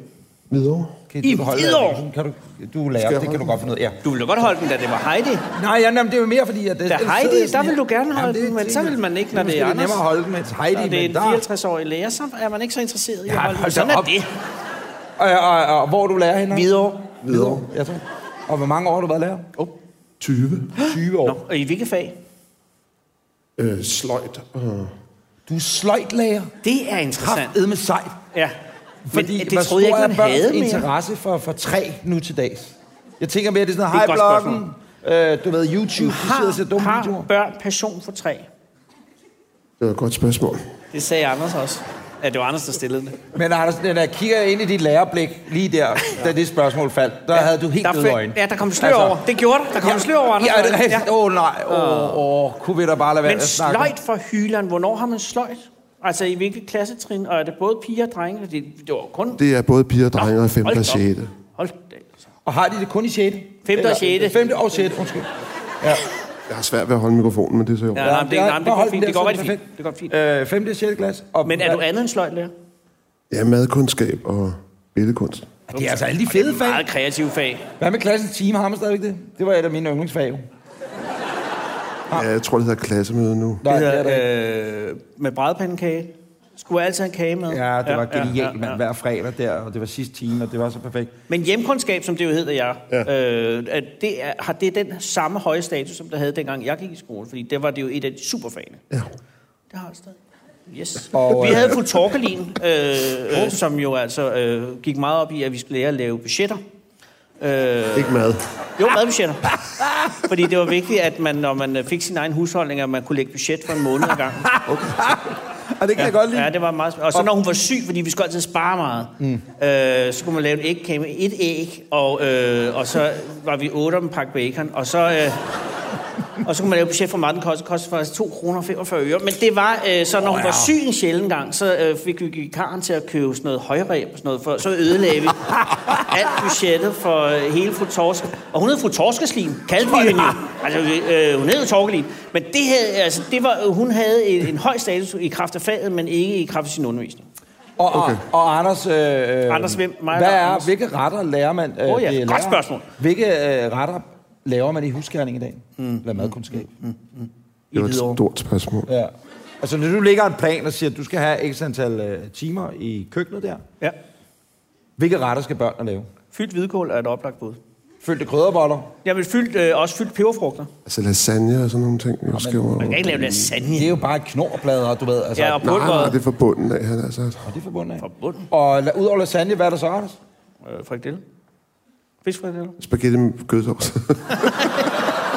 S6: Hvidovre.
S2: Kan
S1: I Hvidovre?
S2: den? Kan du, du er lærer,
S6: Skal
S2: det
S6: jeg
S2: kan
S6: holde
S2: du godt finde ud af. Ja.
S1: Du ville godt holde den, da det var Heidi.
S2: Nej, ja, jamen, det er jo mere fordi, at... Det,
S1: Da
S2: ellers
S1: Heidi,
S2: sidder jeg sådan
S1: der vil
S2: her.
S1: du gerne holde
S2: Jamen, det-
S1: den, men
S2: det-
S1: så vil man ikke, når
S2: det
S1: det er
S2: måske lidt
S1: Anders.
S2: nemmere at holde den med til Heidi,
S1: Når det er
S2: men
S1: en
S2: der...
S1: 64-årig lærer, så er man ikke så interesseret i
S2: Ja,
S1: at holde
S2: hold
S1: den.
S2: da
S1: Sådan er
S2: op.
S1: det.
S2: Og, og, og, og, hvor er du lærer henne?
S1: Hvidovre.
S2: Hvidovre. Ja, så. Og hvor mange år har du været lærer? Oh.
S6: 20.
S2: 20 år.
S1: Nå, og i hvilket fag?
S6: Øh, sløjt. og-
S2: Du er sløjtlærer.
S1: Det er interessant.
S2: Kraft med sejt.
S1: Ja.
S2: Fordi
S1: Men
S2: hvor
S1: det troede jeg
S2: stor
S1: ikke,
S2: er
S1: man
S2: børns
S1: havde mere.
S2: interesse for, for træ nu til dags? Jeg tænker mere, det er sådan
S1: Det er
S2: noget,
S1: et
S2: hej
S1: godt
S2: bloggen, øh, du ved, YouTube, du sidder og ser dumme
S1: Har,
S2: videoer.
S1: har børn passion for træ?
S6: Det er et godt spørgsmål.
S1: Det sagde Anders også. Ja, det var Anders, der stillede det.
S2: Men Anders, når jeg kigger ind i dit lærerblik lige der, da det spørgsmål faldt, der ja, havde du helt
S1: Der,
S2: døde
S1: fik-
S2: øjne. Altså,
S1: ja, der kom slør over. Det gjorde der. Der kom slør over, Anders.
S2: Ja, det er rigtigt. Åh, oh, nej. Åh, oh, oh, kunne vi da bare lade være
S1: Men
S2: at snakke? om-
S1: sløjt for hyland, hvornår har man sløjt? Altså i hvilket klassetrin? Og er det både piger og drenge? Fordi det var kun...
S6: Det er både piger og drenge og 5.
S1: hold da
S6: og
S1: op.
S6: 6.
S1: Hold da. altså.
S2: Og har de det kun i 6.
S1: Femte og sjette.
S2: 5. og 6. Undskyld.
S6: Jeg har svært ved at holde mikrofonen, men det er så jo.
S1: Ja, nej, men det, nej, men det
S2: bare hold
S1: går
S2: den
S1: fint.
S2: der,
S1: Det går
S2: så er
S1: rigtig
S2: det
S1: fint. Det går fint.
S2: Øh, 5. og 6. klasse. Og
S1: Men er du andet end sløjtlærer?
S6: Ja, madkundskab og billedkunst.
S2: Det er altså alle de fede fag.
S1: Meget kreative fag.
S2: Hvad med klassens time? Har man stadigvæk det? Det var et af mine yndlingsfag. jo.
S1: Ah.
S6: Ja, jeg tror, det hedder klassemøde nu.
S2: Nej,
S1: Det
S2: det er der ikke.
S1: hedder, øh, med brædpandekage. Skulle altid have kage med.
S2: Ja, det var genialt, mand. Hver fredag der, og det var sidste time, og det var så perfekt.
S1: Men hjemkundskab, som det jo hedder jeg,
S6: Ja.
S1: øh, at det er, har det er den samme høje status, som det havde dengang jeg gik i skole. Fordi det var det jo et af de superfagene.
S6: Ja.
S1: Det har det stadig. Yes.
S2: Og,
S1: Og, vi
S2: øh,
S1: havde fru Torkelin, øh, øh, som jo altså øh, gik meget op i, at vi skulle lære at lave budgetter. Øh,
S6: Ikke mad.
S1: jo, madbudgetter. Fordi det var vigtigt, at man, når man øh, fik sin egen husholdning, at man kunne lægge budget for en måned ad (laughs) gangen.
S2: Og det kan jeg godt lide.
S1: Ja, det var meget sp- Og så når hun var syg, fordi vi skulle altid spare meget, mm. øh, så kunne man lave en ægkage med et æg, og, øh, og så var vi otte om en pakke bacon, og så... Øh, og så kunne man lave budget for meget, den kostede, kostede faktisk 2 kroner 45 øre. Men det var, øh, så når hun var syg en sjældent gang, så øh, fik vi vikaren til at købe sådan noget højræb og sådan noget, for så ødelagde vi alt budgettet for øh, hele fru Torske. Og hun hed fru Torskeslim, kaldte vi hende jo. Altså, øh, hun hed jo Torkelin. Men det havde, altså, det var, hun havde en, en høj status i kraft af faget, men ikke i kraft af sin undervisning.
S2: Og, og, og Anders, øh, øh,
S1: Anders hvem? Mig
S2: hvad
S1: eller
S2: er,
S1: Anders?
S2: hvilke retter lærer man? Øh,
S1: Åh ja,
S2: det er
S1: godt
S2: lærer?
S1: spørgsmål.
S2: Hvilke øh, retter laver man i huskerning i dag?
S1: Hmm.
S2: Mm. Eller madkundskab? Mm.
S1: I
S6: Det var
S1: Hvidovre.
S6: et stort spørgsmål.
S2: Ja. Altså, når du lægger en plan og siger, at du skal have x antal øh, timer i køkkenet der,
S1: Ja.
S2: hvilke retter skal børnene lave?
S1: Fyldt hvidkål er et oplagt bud.
S2: Fyldte krydderboller?
S1: Jamen fyldt, øh, også fyldt peberfrugter.
S6: Altså lasagne og sådan nogle ting. Jeg skal over.
S1: Man kan ikke lave lasagne.
S2: Det er jo bare knorplader, du ved. Altså,
S1: Ja, og
S6: Nej, nej,
S1: pulveret.
S6: det er altså fra bunden af, han har sagt.
S2: og det er forbundet af.
S1: Forbundet.
S2: Og la- udover lasagne, hvad er der så, Anders?
S1: Øh, frikadelle. Fiskfrikadelle.
S6: Spaghetti med kødsovs. (laughs)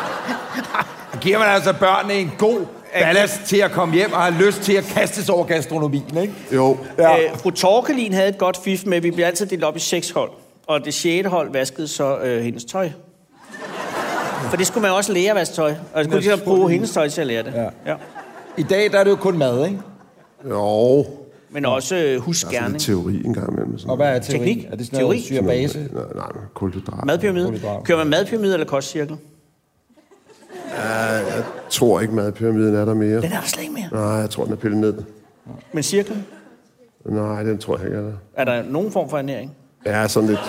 S2: Giver man altså børnene en god ballast til at komme hjem og have lyst til at kastes over gastronomien, ikke?
S6: jo.
S1: Ja. Øh, fru Torkelin havde et godt fif med, at vi blev altid delt op i seks hold. Og det sjette hold vaskede så øh, hendes tøj. For det skulle man også lære at vaske tøj. Og skulle ligesom bruge hendes tøj til at lære det. Ja. Ja.
S2: I dag, der er det jo kun mad, ikke?
S6: Jo.
S1: Men også øh,
S6: Der er sådan
S1: husgerning.
S6: lidt teori en gang imellem. og Sådan
S2: Og hvad er teori?
S1: Teknik?
S2: Er det sådan noget
S1: Teori?
S2: syrebase?
S6: Nej, nej, men kulhydrat.
S1: Madpyramide.
S2: Kulhydrat.
S1: Kører man madpyramide eller kostcirkel?
S6: Jeg tror ikke, madpyramiden er der mere.
S1: Den er der slet ikke mere.
S6: Nej, jeg tror, den er pillet ned.
S1: Men cirklen?
S6: Nej, den tror jeg ikke er der.
S1: Er der nogen form for ernæring?
S6: Ja, sådan lidt.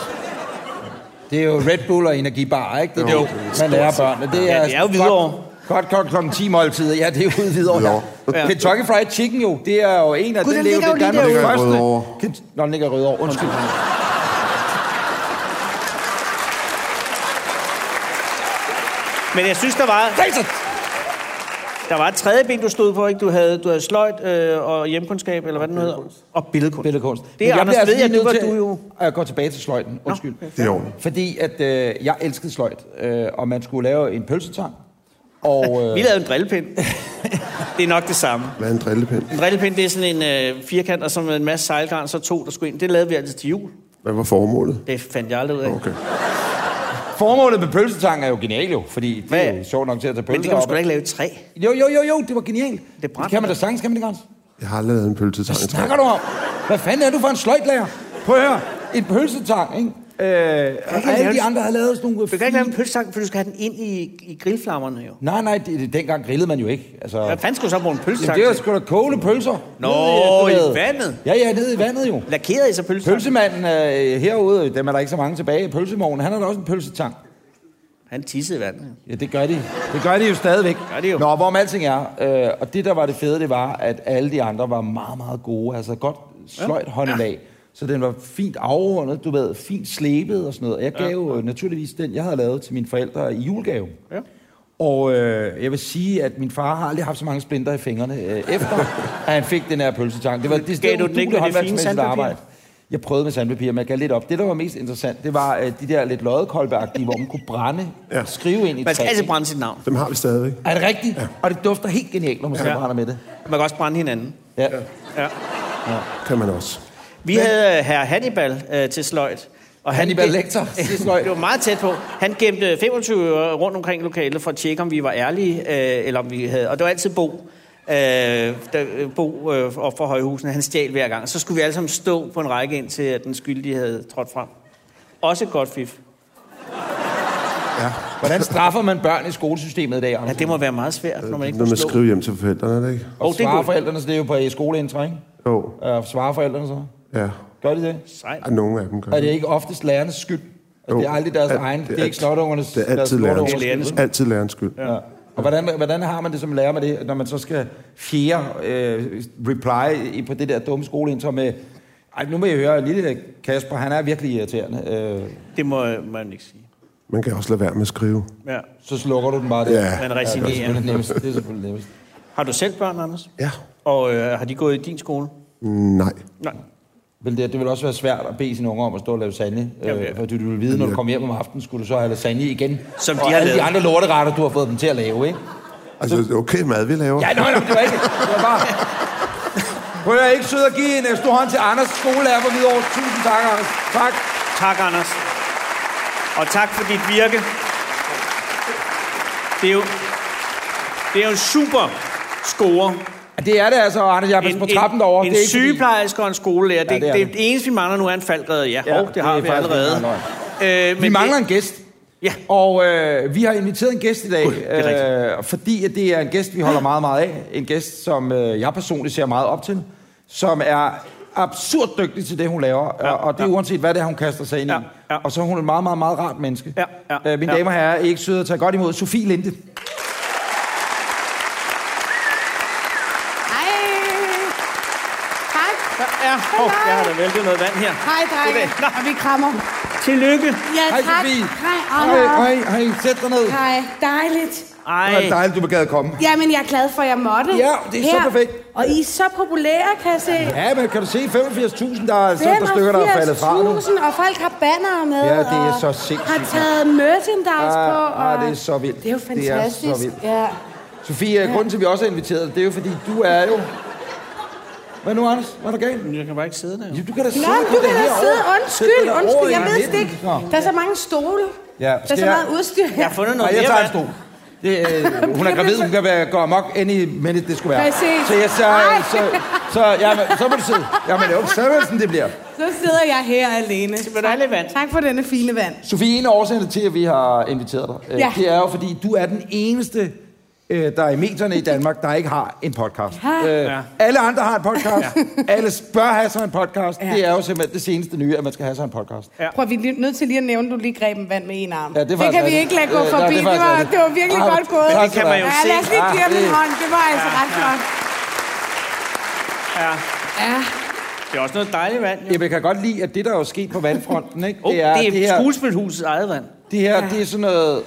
S2: Det er jo Red Bull og energibar, ikke? Det er
S1: Jo.
S2: jo, man lærer børnene. Det er,
S1: Ja, det er jo
S2: godt-
S1: Hvidovre.
S2: Godt, godt klokken 10 måltider. Ja, det er jo ude videre. Ja.
S6: Ja.
S2: Kentucky Fried Chicken jo, det er jo en af...
S1: Gud, den ligger
S2: det
S1: jo lige
S2: Danmarks
S6: derude.
S2: første-
S6: Den ligger i Rødovre.
S2: Kent- Nå, den ligger i Rødovre. Undskyld.
S1: Men jeg synes, der var...
S2: Jason!
S1: Der var et tredje ben, du stod på, ikke? Du havde, du havde sløjt øh, og hjemkundskab, eller hvad den nu hedder. Og billedkunst.
S2: billedkunst.
S1: Det er
S2: Men
S1: Anders,
S2: bliver
S1: ved jeg,
S2: lige
S1: nu var
S2: nødt
S1: du
S2: til-
S1: jo...
S2: Og Jeg går tilbage til sløjten, undskyld.
S6: Det er ordentligt.
S2: Fordi at øh, jeg elskede sløjt, øh, og man skulle lave en pølsetang. Og,
S1: (laughs)
S2: øh,
S1: Vi lavede en drillepind.
S6: (laughs)
S1: det er nok det samme.
S6: Hvad er en drillepind?
S1: En drillepind, det er sådan en øh, firkant, og så med en masse sejlgran, så to, der skulle ind. Det lavede vi altid til jul.
S6: Hvad var formålet?
S1: Det fandt jeg aldrig ud af.
S6: Okay.
S2: formålet med pølsetang er jo genialt jo, fordi det er
S1: Hvad?
S2: jo sjovt nok til at tage
S1: Men det
S2: pølser
S1: kan man
S2: op.
S1: sgu da ikke lave i træ.
S2: Jo, jo, jo, jo, det var genialt. Det,
S1: brændte.
S2: kan man da sagtens, kan man det, Grans?
S6: Jeg har aldrig lavet en pølsetang.
S2: Hvad snakker du om? Hvad fanden er du for en sløjtlærer? Prøv at høre, en pølsetang, ikke? Øh, og alle
S1: lave
S2: de
S1: en-
S2: andre havde lavet sådan nogle...
S1: Du kan ikke lave en pølsetang, for du skal have den ind i, i grillflammerne jo.
S2: Nej, nej, det, det, dengang grillede man jo ikke. Altså,
S1: Hvad fanden skulle du så bruge en
S2: Jamen,
S1: pølsetang
S2: det var
S1: til?
S2: sgu da kogende pølser.
S1: Nå,
S2: Nede
S1: i
S2: efterladet.
S1: vandet.
S2: Ja, ja, nede i vandet jo.
S1: Lakeret i så pølsetang?
S2: Pølsemanden øh, herude, dem er der ikke så mange tilbage i pølsemorgen, han har da også en pølsetang.
S1: Han tissede i vandet.
S2: Ja, det gør de. Det gør de jo stadigvæk.
S1: Gør de jo.
S2: Nå, hvorom alting er. Øh, og det, der var det fede, det var, at alle de andre var meget, meget gode. Altså godt sløjt ja. håndelag. Så den var fint afrundet, du ved, fint slebet og sådan noget. Og Jeg gav jo øh, naturligvis den, jeg havde lavet til mine forældre i julegave.
S1: Ja.
S2: Og øh, jeg vil sige, at min far har aldrig haft så mange splinter i fingrene, øh,
S1: (laughs)
S2: efter at han fik den her pølsetang. Det var det
S1: Gav du den ikke med det
S2: stedet udueligt
S1: fine
S2: håndværksmæssigt
S1: sandpapir?
S2: arbejde. Jeg prøvede med sandpapir, men jeg gav lidt op. Det, der var mest interessant, det var øh, de der lidt loddekolbeagtige, hvor man kunne brænde, ja.
S6: Ja.
S2: skrive ind i
S1: Man skal
S2: træ,
S1: altid
S2: ikke?
S1: brænde sit navn.
S6: Dem har vi stadigvæk.
S2: Er det rigtigt? Ja. Og det dufter helt genialt, når man ja.
S1: Ja.
S2: brænder med det.
S1: Man kan også brænde hinanden.
S2: Ja.
S1: Ja.
S6: Kan man også.
S1: Vi Men... havde herr Hannibal øh, til sløjt. Og han
S2: Hannibal
S1: gem- (laughs)
S2: Lecter til sløjd.
S1: det var meget tæt på. Han gemte 25 øre rundt omkring i lokalet for at tjekke, om vi var ærlige, øh, eller om vi havde... Og det var altid Bo, øh, der, øh, Bo øh, op fra Højhusene. Han stjal hver gang. Så skulle vi alle sammen stå på en række ind til, at den skyldige havde trådt frem. Også et godt fif.
S6: Ja.
S2: Hvordan straffer man børn i skolesystemet i dag,
S1: Ja,
S2: Anders?
S1: det må være meget svært, når man ikke
S6: Når
S1: kan
S6: man
S1: slå.
S6: skriver hjem til forældrene, er det ikke?
S2: Og
S1: Åh, det er
S2: svarer
S1: godt.
S2: forældrene, så det er jo på øh, skoleindtræ, ikke?
S6: Jo.
S2: Øh, svarer forældrene så?
S6: Ja.
S2: Gør de det?
S1: Sejt.
S6: Og nogle af dem gør
S2: Er det ikke oftest lærernes skyld? Altså,
S6: Jo.
S2: det er aldrig deres
S6: Al-
S2: egen, det
S6: det
S2: er
S6: er
S2: ikke
S6: alt-
S2: snottungernes
S6: Det er altid
S2: deres
S6: lærerens
S2: lorteungers
S1: lorteungers
S6: skyld.
S1: skyld.
S6: Altid lærerens skyld.
S2: Ja. Og hvordan, hvordan har man det som lærer med det, når man så skal fjerde øh, reply i- på det der dumme skoleindtag med, ej, nu må jeg høre, lille Kasper, han er virkelig irriterende. Øh,
S1: Det må man ikke sige.
S6: Man kan også lade være med at skrive.
S1: Ja.
S2: så slukker du den bare der.
S6: Ja.
S1: Man
S2: Ja, det er
S1: resignerer.
S2: selvfølgelig nemmest. Det er selvfølgelig nemmest.
S1: Har du selv børn, Anders?
S6: Ja.
S1: Og øh, har de gået i din skole?
S6: Mm, Nej.
S1: Nej.
S2: Vel, det, det vil også være svært at bede sine unger om at stå og lave sande.
S1: Jamen, ja.
S2: Øh, for du, du vil vide, når du kommer hjem om aftenen, skulle du så have lasagne igen.
S1: Som de
S2: og
S1: har
S2: alle de
S1: lavet.
S2: andre lorteretter, du har fået dem til at lave, ikke?
S6: Altså, det er okay mad, vi laver.
S2: Ja, nej, nej, det var ikke. Det var bare... Prøv at ikke sød at give en øh, stor hånd til Anders, skolelærer på Hvidovre. Tusind tak, Anders. Tak.
S1: Tak, Anders. Og tak for dit virke. Det er jo, det er jo en super score.
S2: Ja, Det er det altså, Anders Jappes, på trappen derovre.
S1: en
S2: det er ikke fordi-
S1: sygeplejerske og en skolelærer. Det,
S2: Ja,
S1: ja,
S2: det
S1: det,
S2: er
S1: det,
S2: det.
S1: det eneste, vi mangler nu, er en faldredder. Ja,
S2: Ja,
S1: ja det har
S2: det er
S1: vi
S2: faktisk
S1: allerede.
S2: ikke engang
S1: Øh, men
S2: Vi mangler
S1: det,
S2: en gæst.
S1: Ja.
S2: Og øh, vi har inviteret en gæst i dag,
S1: Gud, det er rigtigt.
S2: øh, fordi at det er en gæst, vi holder meget, meget af. En gæst, som øh, jeg personligt ser meget op til, som er absurd dygtig til det, hun laver, ja, og det er ja. uanset, hvad det er, hun kaster sig ind i. Ja,
S1: Ja,
S2: ja.
S1: ja.
S2: Og så er hun et meget, meget, meget rart menneske.
S1: Ja, ja,
S2: øh, mine
S1: ja.
S2: damer og herrer, I er ikke søde at tage godt imod Sofie Linde.
S5: Hej. Tak.
S1: Ja, oh, jeg har da væltet noget vand her.
S5: Hej, drenge.
S1: Goddag. Nå.
S5: Og vi krammer.
S1: Tillykke.
S5: Ja,
S2: Hej,
S5: tak.
S2: Sofie.
S5: Hej,
S2: Hej,
S5: Anna.
S2: hej, hej, sæt dig ned.
S5: Hej, dejligt.
S2: Det var
S1: Ej,
S2: dejligt, du gad at komme.
S5: Jamen, jeg er glad for, at jeg måtte.
S2: Ja, det er så perfekt.
S5: Og I er så populære, kan jeg se.
S2: Ja, men kan du se 85.000, der er sådan et par stykker, der er faldet fra nu.
S5: 85.000, og folk har bannere med.
S2: Ja, det er
S5: og
S2: så sindssygt.
S5: Har taget merchandise
S2: Ah,
S5: på.
S2: ah,
S5: og-
S2: det er så vildt.
S5: Det er jo
S2: Det er så
S5: fantastisk.
S2: vildt.
S5: Ja.
S2: Sofie, ja. grunden til, at vi også er inviteret, det er jo, fordi du er jo... Hvad nu, Anders? Hvad er der galt?
S1: jeg kan bare ikke sidde der. jo.
S2: Ja, du kan da sidde
S5: Nå, men
S2: på
S5: du
S2: det
S5: kan da
S2: herovre.
S5: sidde.
S2: Sæt dig
S5: Undskyld,
S2: derovre
S5: undskyld.
S2: i
S5: Jeg ved det
S2: midten.
S5: ikke.
S2: Nå.
S5: Der er så mange stole.
S2: Ja,
S5: Der
S2: skal
S5: er så
S2: jeg-
S5: meget udstyr her.
S1: Jeg har fundet
S2: Nej,
S1: noget
S2: jeg
S1: mere
S2: tager en
S1: vand.
S2: stol. Det, øh, hun er gravid, hun kan være, gå amok any minute, det skulle være.
S5: Præcis.
S2: Så, jeg, så,
S5: Ej.
S2: så, så, jamen, så må du sidde. Jamen, det er jo ikke sådan, sådan, det bliver.
S5: Så sidder jeg her alene.
S1: Vil du have lidt vand?
S5: Tak for denne fine vand.
S2: Sofie, en af årsagerne til, at vi har inviteret dig, øh,
S5: Ja.
S2: det er jo, fordi du er den eneste, øh, der er i medierne i Danmark, der ikke har en podcast.
S5: Ja.
S2: Øh,
S1: Ja.
S2: Alle andre har en podcast. Alle bør have sig en podcast.
S5: Ja.
S2: Det er jo simpelthen det seneste nye, at man skal have sig en podcast.
S1: Ja.
S5: Prøv, vi er nødt til lige at nævne, at du lige greb en vand med en arm.
S2: Ja, det er
S5: det
S2: faktisk
S5: kan vi
S2: rigtigt.
S5: ikke lade gå
S2: Øh, nej,
S5: forbi.
S2: det er
S5: det,
S2: faktisk
S5: var,
S2: rigtigt.
S5: det var virkelig
S2: Ej,
S5: godt gået.
S2: men
S1: det kan man jo
S5: ja,
S1: se.
S5: lad os lige
S2: Ah,
S5: give ham en
S2: det-
S5: hånd. Det var altså ret flot.
S1: Ja.
S5: Ja.
S1: Det er også noget dejligt vand. Jo.
S2: Jamen, jeg kan godt lide, at det, der er jo sket på vandfronten, ikke?
S1: Oh, det er, det er
S2: her,
S1: skuespilhusets eget vand.
S2: det her det er sådan noget